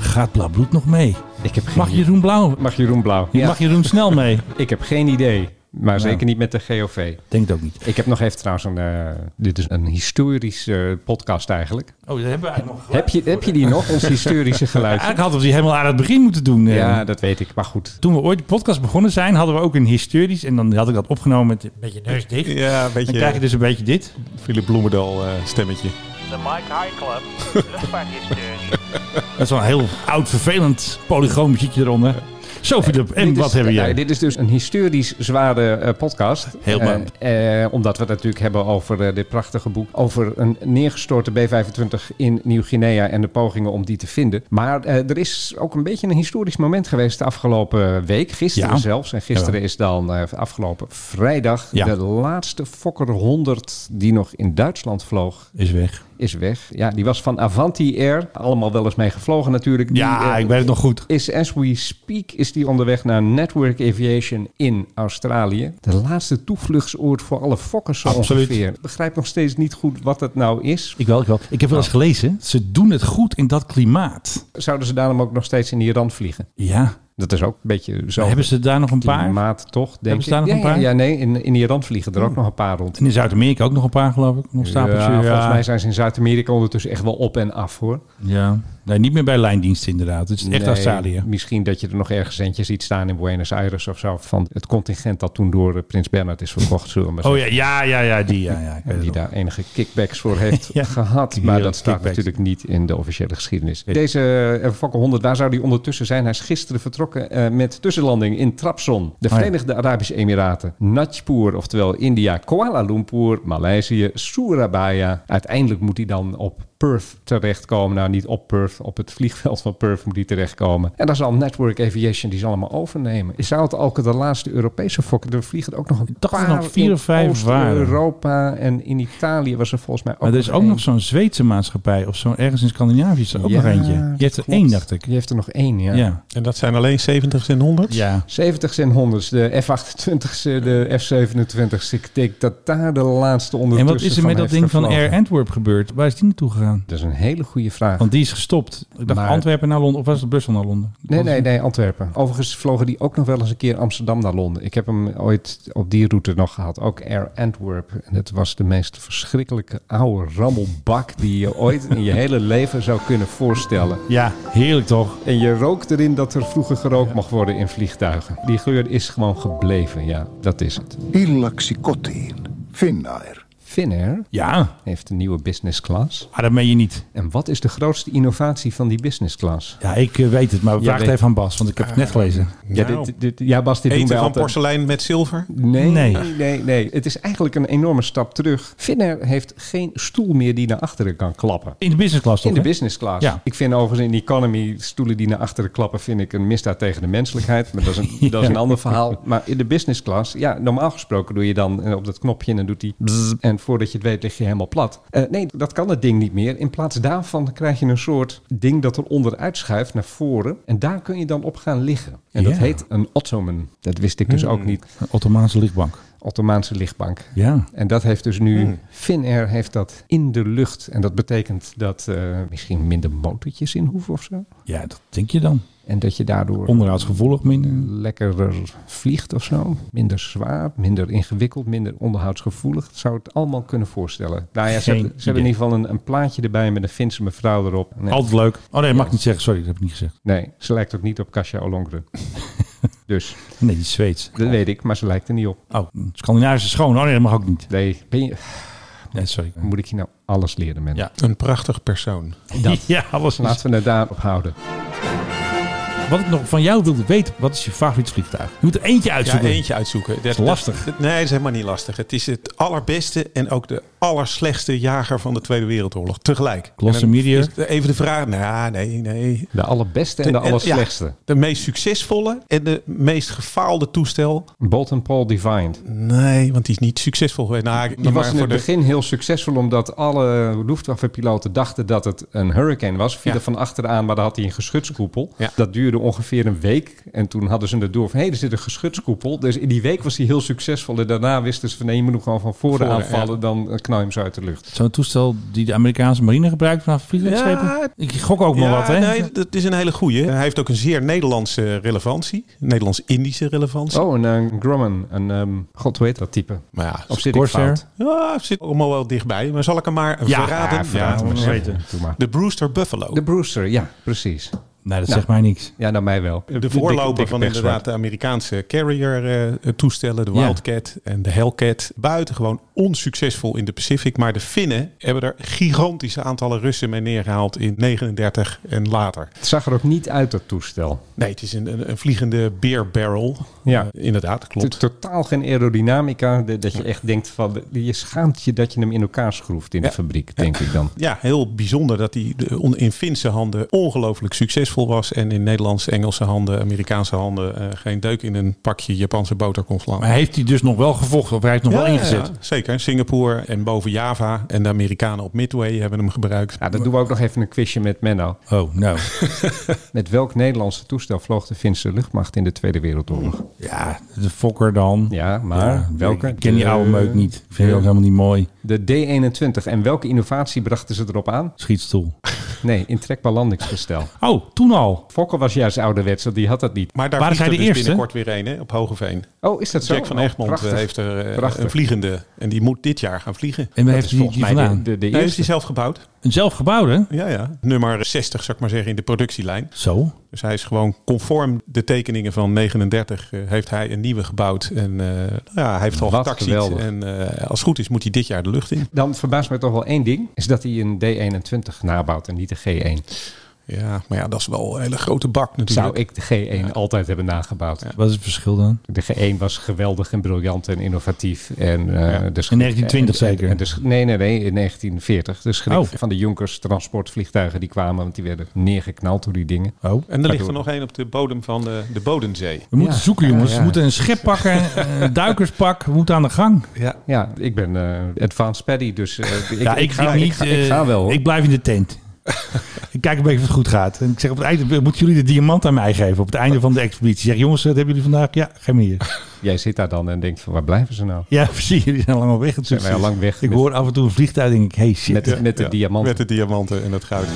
C: Gaat Blauwbloed nog mee?
D: Ik heb geen
C: Mag
D: idee.
C: Jeroen Blauw?
D: Mag Jeroen Blauw? Ja.
C: Mag Jeroen snel mee?
D: Ik heb geen idee. Maar zeker niet met de GOV.
C: Denk het ook niet.
D: Ik heb nog even trouwens een... eh, dit is een historische eh, podcast eigenlijk.
C: Oh, dat hebben we eigenlijk nog.
D: Heb je, heb je die nog, ons historische geluid?
C: Eigenlijk hadden we die helemaal aan het begin moeten doen. eh.
D: Ja, dat weet ik. Maar goed.
C: Toen we ooit de podcast begonnen zijn, hadden we ook een historisch. En dan had ik dat opgenomen met een beetje neus dicht.
B: Ja, een beetje.
C: Dan krijg je dus een beetje dit.
B: Philip Bloemendal eh, stemmetje.
A: De Mike High Club. Luchtvaarthistorie.
C: Dat is wel een heel oud, vervelend polygoon muziekje eronder. Zo, Philip, en
D: Eh, Dit is-
C: wat hebben
D: nou,
C: jij?
D: dit is dus een historisch zware eh, podcast. Eh,
C: Heel belangrijk.
D: eh, omdat we het natuurlijk hebben over eh, dit prachtige boek. Over een neergestorte B-25 in Nieuw-Guinea en de pogingen om die te vinden. Maar eh, er is ook een beetje een historisch moment geweest de afgelopen week. Gisteren
C: Ja.
D: zelfs. En gisteren is dan eh, afgelopen vrijdag
C: Ja.
D: de laatste Fokker 100 die nog in Duitsland vloog
C: Is weg.
D: is weg. Ja, die was van Avanti Air. Allemaal wel eens mee gevlogen natuurlijk. Die,
C: Ja,
D: eh,
C: ik weet het nog goed.
D: Is as we speak is die onderweg naar Network Aviation in Australië. De laatste toevluchtsoord voor alle fokkers zo
C: Absoluut.
D: ongeveer. Ik begrijp nog steeds niet goed wat dat nou is.
C: Ik wel, ik wel. Ik heb wel eens gelezen, ze doen het goed in dat klimaat.
D: Zouden ze daarom ook nog steeds in die rand vliegen?
C: Ja,
D: Dat is ook een beetje zo.
C: hebben ze daar nog een paar?
D: Maat toch, denk
C: Hebben ze daar
D: ik.
C: nog
D: ja,
C: een paar?
D: Ja, ja, nee, in, in Iran vliegen er ook nog een paar rond.
C: En in Zuid-Amerika ook nog een paar, geloof ik. Nog
D: Ja,
C: stapeltje. Ja,
D: Volgens mij zijn ze in Zuid-Amerika ondertussen echt wel op en af hoor.
C: Ja. Nee, niet meer bij lijndienst inderdaad. Het is echt
D: Nee,
C: Australië.
D: Misschien dat je er nog ergens eentje ziet staan in Buenos Aires of zo. Van het contingent dat toen door eh, Prins Bernhard is verkocht. Zullen we maar
C: Oh
D: zeggen.
C: ja, ja, ja, ja, die. Ja, ja. ik weet het
D: Die
C: nog.
D: daar enige kickbacks voor heeft
C: Ja,
D: gehad. Maar
C: heerlijk
D: dat staat
C: kickbacks.
D: natuurlijk niet in de officiële geschiedenis. Deze eh, Fokker 100, waar zou die ondertussen zijn? Hij is gisteren vertrokken eh, met tussenlanding in Trabzon. De
C: Oh ja.
D: Verenigde Arabische Emiraten. Najpur, oftewel India. Kuala Lumpur, Maleisië, Surabaya. Uiteindelijk moet hij dan op Perth terechtkomen. Nou, niet op Perth. Op het vliegveld van Perth moet hij terechtkomen. En dan zal Network Aviation die zal allemaal overnemen. Zou het ook de laatste Europese Fokker? Er vliegen er ook nog een
C: dacht er
D: paar
C: nog vier
D: in
C: of vijf waren.
D: Europa en in Italië was er volgens mij ook
C: Maar er is ook
D: één.
C: nog zo'n Zweedse maatschappij of zo. Ergens in Scandinavië is er ook
D: Ja,
C: nog eentje. Je hebt er
D: klopt.
C: één, dacht ik.
D: Die heeft er nog één, ja.
C: Ja.
B: En dat zijn alleen 70 en 100?
C: Ja.
D: 70's en 100's, de F28's, de F27's. Ik denk dat daar de laatste
C: En
D: ondertussen
C: wat is er met dat
D: heeft
C: ding van
D: gevlogen.
C: Air Antwerp gebeurd? Waar is die naartoe gegaan?
D: Dat is een hele goede vraag.
C: Want die is gestopt. Ik dacht
D: Maar-
C: Antwerpen naar Londen. Of was het Brussel naar Londen?
D: Nee, nee, nee, Antwerpen. Overigens vlogen die ook nog wel eens een keer Amsterdam naar Londen. Ik heb hem ooit op die route nog gehad. Ook Air Antwerp. En dat was de meest verschrikkelijke oude rammelbak die je ooit in je hele leven zou kunnen voorstellen.
C: Ja, heerlijk toch?
D: En je rookt erin dat er vroeger gerookt mag worden in vliegtuigen. Die geur is gewoon gebleven, ja. Dat is het.
J: Illaksi kotiin, Finnair.
D: Finnair
C: Ja,
D: heeft een nieuwe business class.
C: maar dat meen je niet.
D: En wat is de grootste innovatie van die business class?
C: Ja, ik eh, weet Ah. het, maar vraag het
D: weet-
C: even aan Bas, want ik heb het net gelezen.
D: Ja,
B: Nou.
D: dit, dit, ja Bas, dit doen
B: Eten
D: wij
B: van
D: altijd.
B: porselein met zilver?
D: Nee,
C: Nee.
D: nee, nee, Het is eigenlijk een enorme stap terug. Finnair heeft geen stoel meer die naar achteren kan klappen.
C: In de business class toch?
D: In de
C: hè?
D: business class.
C: Ja.
D: Ik vind overigens in de economy stoelen die naar achteren klappen... vind ik een misdaad tegen de menselijkheid. Maar dat is een, dat is een ander verhaal. Maar in de business class, ja, normaal gesproken doe je dan eh, op dat knopje... en dan doet hij bzzz. en voordat je het weet lig je helemaal plat. Eh, nee, dat kan het ding niet meer. In plaats daarvan krijg je een soort ding dat er onderuit schuift naar voren. En daar kun je dan op gaan liggen. En dat
C: Ja. Hmm.
D: heet een ottoman. Dat wist ik dus ook niet.
C: Een Ottomaanse lichtbank.
D: Ottomaanse lichtbank.
C: Ja.
D: En dat heeft dus nu, Finnair heeft dat in de lucht. En dat betekent dat eh, misschien minder motortjes in hoeven of zo.
C: Ja, dat denk je dan.
D: En dat je daardoor
C: Onderhoudsgevoelig minder.
D: lekkerder vliegt of zo. Minder zwaar, minder ingewikkeld, minder onderhoudsgevoelig. Dat zou het allemaal kunnen voorstellen. Nou ja, ze,
C: Geen
D: hebben, ze hebben in
C: idee.
D: ieder geval een, een plaatje erbij met een Finse mevrouw erop. Nee,
C: Altijd leuk. Oh nee, mag ik niet zeggen. Sorry, dat heb ik niet gezegd.
D: nee, ze lijkt ook niet op Kasia Olongren. dus,
C: Nee, die is Zweeds.
D: dat weet ik, maar ze lijkt er niet op.
C: Oh, Scandinavisch is schoon. Oh nee, dat mag ook niet.
D: Nee, ben je,
C: Nee, sorry.
D: moet ik je nou alles leren, man?
C: Ja.
B: Een prachtig persoon.
C: Ja, alles is-
D: Laten we het daarop houden.
C: Wat ik nog van jou wilde weten, wat is je favoriet vliegtuig? Je moet er eentje
B: Ja,
C: uitzoeken.
B: eentje uitzoeken. Dat
C: is lastig.
B: dat- nee, dat is helemaal niet lastig. Het is het allerbeste en ook de allerslechtste jager van de Tweede Wereldoorlog. Tegelijk.
C: Glossomirië.
B: En dan is het Even de vraag. Nou, nee, nee.
D: De allerbeste en de
B: ja,
D: allerslechtste.
B: de meest succesvolle en de meest gefaalde toestel.
D: Bolton Paul Defined.
B: Nee, want die is niet succesvol geweest. Nou,
D: Die
B: maar
D: was in
B: voor
D: het
B: de-
D: begin heel succesvol omdat alle Luftwaffe-piloten dachten dat het een hurricane was. Viel
B: Ja.
D: er van achteraan, maar daar had hij een geschutskoepel.
B: Ja.
D: Dat duurde ongeveer een week. En toen hadden ze het door van, hé, hey, er zit een geschutskoepel. Dus in die week was hij heel succesvol. En daarna wisten ze van, nee, je moet hem gewoon van voren,
B: Voren,
D: aanvallen.
B: ja.
D: Dan eh, knal je hem zo uit de lucht.
C: Zo'n toestel die de Amerikaanse marine gebruikt vanaf vliegtuigschepen.
B: Ja.
C: Ik gok ook maar
B: ja,
C: wat, hè?
B: Nee, dat is een hele goeie. Hij heeft ook een zeer Nederlandse relevantie. Nederlands-Indische relevantie.
D: Oh, een eh, Grumman. Een, ehm, god, weet dat type?
B: Maar ja,
D: Of zit ik
C: Corsair?
D: fout?
B: ja, zit allemaal wel dichtbij. Maar zal ik hem maar
C: Ja,
B: verraden?
D: ja, verraad
C: maar
D: maar.
C: weten.
D: Doe maar.
B: De Brewster Buffalo.
D: De Brewster, ja, precies.
C: Nee, dat zegt mij niks.
D: Ja, naar mij wel.
B: De voorloper
D: dikke
B: van
D: pechzwart.
B: inderdaad de Amerikaanse carrier-toestellen, de
C: Ja.
B: Wildcat en de Hellcat. Buitengewoon onsuccesvol in de Pacific. Maar de Finnen hebben er gigantische aantallen Russen mee neergehaald in 39 en later.
D: Het zag er ook niet uit, dat toestel.
B: Nee, het is een, een, een vliegende beer barrel.
D: Ja.
B: Eh, inderdaad,
D: Het
B: klopt.
D: is Totaal geen aerodynamica. de- Dat je echt denkt van... Je schaamt je dat je hem in elkaar schroeft in de
B: Ja.
D: fabriek, denk ik dan.
B: Ja, heel bijzonder dat hij de- on- in Finse handen ongelooflijk succesvol was. En in Nederlandse, Engelse handen, Amerikaanse handen eh, geen deuk in een pakje Japanse boter kon slaan.
C: Maar heeft hij dus nog wel gevochten of hij heeft nog wel ingezet?
B: ja, zeker. Singapore en boven Java. En de Amerikanen op Midway hebben hem gebruikt.
D: Ja, dan doen we ook nog even een quizje met Menno.
C: Oh, nou.
D: Met welk Nederlandse toestel vloog de Finse luchtmacht in de Tweede Wereldoorlog?
C: Ja, de fokker dan.
D: Ja, maar welke?
C: Ik ken die oude
D: De-
C: meuk niet. Ik vind die ook helemaal niet mooi.
D: De D21. En welke innovatie brachten ze erop aan?
C: Schietstoel.
D: Nee, intrekbaar landingsgestel.
C: Oh, toen al.
D: Fokker was juist ouderwets, want die had dat niet.
B: Maar daar
C: Waren
B: vliegt er
C: zij de
B: dus
C: eerste?
B: binnenkort weer een hè, op Hogeveen.
D: Oh, is dat zo?
B: Jack van
D: Oh,
B: Egmond eh,
D: prachtig.
B: heeft er eh,
D: Prachtig.
B: een vliegende. En die moet dit jaar gaan vliegen.
C: En waar heeft
D: is
C: hij die,
D: volgens
C: die
D: mij de,
C: vandaan?
D: de, de
B: Nee, heeft
D: eerste.
B: hij zelf gebouwd.
C: Een zelfgebouwde?
B: Ja, ja. Nummer 60, zou ik maar zeggen, in de productielijn.
C: Zo.
B: Dus hij is gewoon conform de tekeningen van 39 eh, heeft hij een nieuwe gebouwd. En eh, nou ja, hij heeft al
D: Wat
B: getaxied.
D: geweldig.
B: En eh, als het goed is moet hij dit jaar de lucht in.
D: Dan verbaast mij toch wel één ding. Is dat hij een D21 nabouwt en niet de G1.
B: Ja, maar ja, dat is wel een hele grote bak natuurlijk.
D: Zou ik de G1 altijd hebben nagebouwd.
C: Wat is het verschil dan?
D: De G1 was geweldig en briljant en innovatief. En, eh, de sch-
C: In 1920
D: en- en-
C: zeker?
D: en de sch- nee, nee, nee, in 1940. De schrik
C: Oh.
D: van de Junkers transportvliegtuigen die kwamen, want die werden neergeknald door die dingen.
C: Oh.
B: En er ligt er nog één op de bodem van de, de Bodensee.
C: We moeten
D: Ja.
C: zoeken,
D: Ja,
C: jongens.
D: ja.
C: We moeten een schep pakken, een duikerspak. We moeten aan de gang.
D: Ja, ik ben eh, advanced paddy, dus eh, ik,
C: ja,
D: ik, ga,
C: weet
D: ik, ga, ik
C: eh,
D: ga wel. hoor.
C: Ik blijf in de tent. ik kijk een beetje of het goed gaat. En ik zeg op het einde, moeten jullie de diamant aan mij geven op het einde van de expeditie? Ik Zeg, jongens, dat hebben jullie vandaag? Ja, geen meer.
D: Jij zit daar dan en denkt van waar blijven ze nou?
C: Ja, precies. Jullie zijn lang al weg. Het
D: Zijn wij al lang weg
C: Ik
D: met-
C: hoor af en toe een vliegtuig en denk ik, hey shit.
D: Met, de- met de
B: Ja,
D: diamant.
B: Met de diamanten en het goud.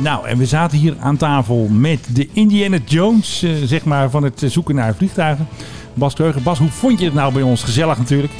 C: Nou, en we zaten hier aan tafel met de Indiana Jones, eh, zeg maar, van het eh, zoeken naar vliegtuigen. Bas Kreuger. Bas, hoe vond je het nou bij ons? Gezellig natuurlijk.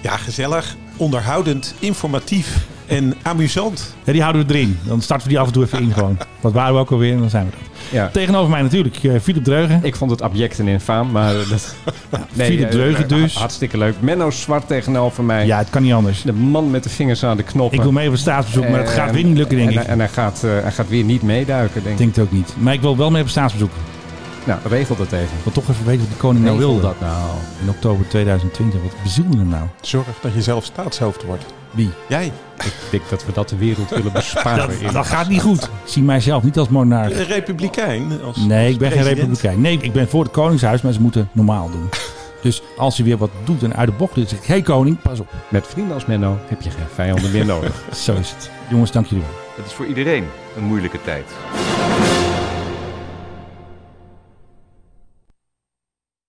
B: Ja, gezellig, onderhoudend, informatief. en amusant.
C: Ja, die houden we erin. Dan starten we die af en toe even in gewoon. Dat waren we ook alweer en dan zijn we er.
D: Ja.
C: Tegenover mij natuurlijk eh, Philip Dreugen.
D: Ik vond het abject en infaam, maar eh, dat...
C: Philip
D: eh,
C: Dreugen dus.
D: Hartstikke leuk. Menno Zwart tegenover mij.
C: Ja, het kan niet anders.
D: De man met de vingers aan de knoppen.
C: Ik wil mee op een staatsbezoek, maar het gaat weer niet lukken, denk
D: Eh, en,
C: ik.
D: En, hij, gaat, eh, hij gaat weer niet meeduiken, denk
C: Ik
D: ik.
C: denk het ook niet. Maar ik wil wel mee op staatsbezoek.
D: Nou, regel dat even.
C: Ik wil toch even weten wat die koning nou
D: Regel
C: wilde.
D: dat nou.
C: In oktober 2020. Wat bezielde hem nou?
B: Zorg dat je zelf staatshoofd wordt.
C: Wie?
B: Jij.
D: Ik denk dat we dat de wereld willen besparen.
C: Dat,
D: eerlijk.
C: dat gaat niet goed. Ik zie mijzelf niet als monarch.
B: Een republikein. Als,
C: Nee,
B: als
C: ik ben geen
B: president.
C: republikein. Nee, ik ben voor het Koningshuis, maar ze moeten normaal doen. Dus als hij weer wat doet en uit de bocht doet, zeg ik: Hé hey koning, pas op.
D: Met vrienden als Menno heb je geen vijanden meer nodig.
C: Zo is het. Jongens, dank jullie wel.
I: Het is voor iedereen een moeilijke tijd.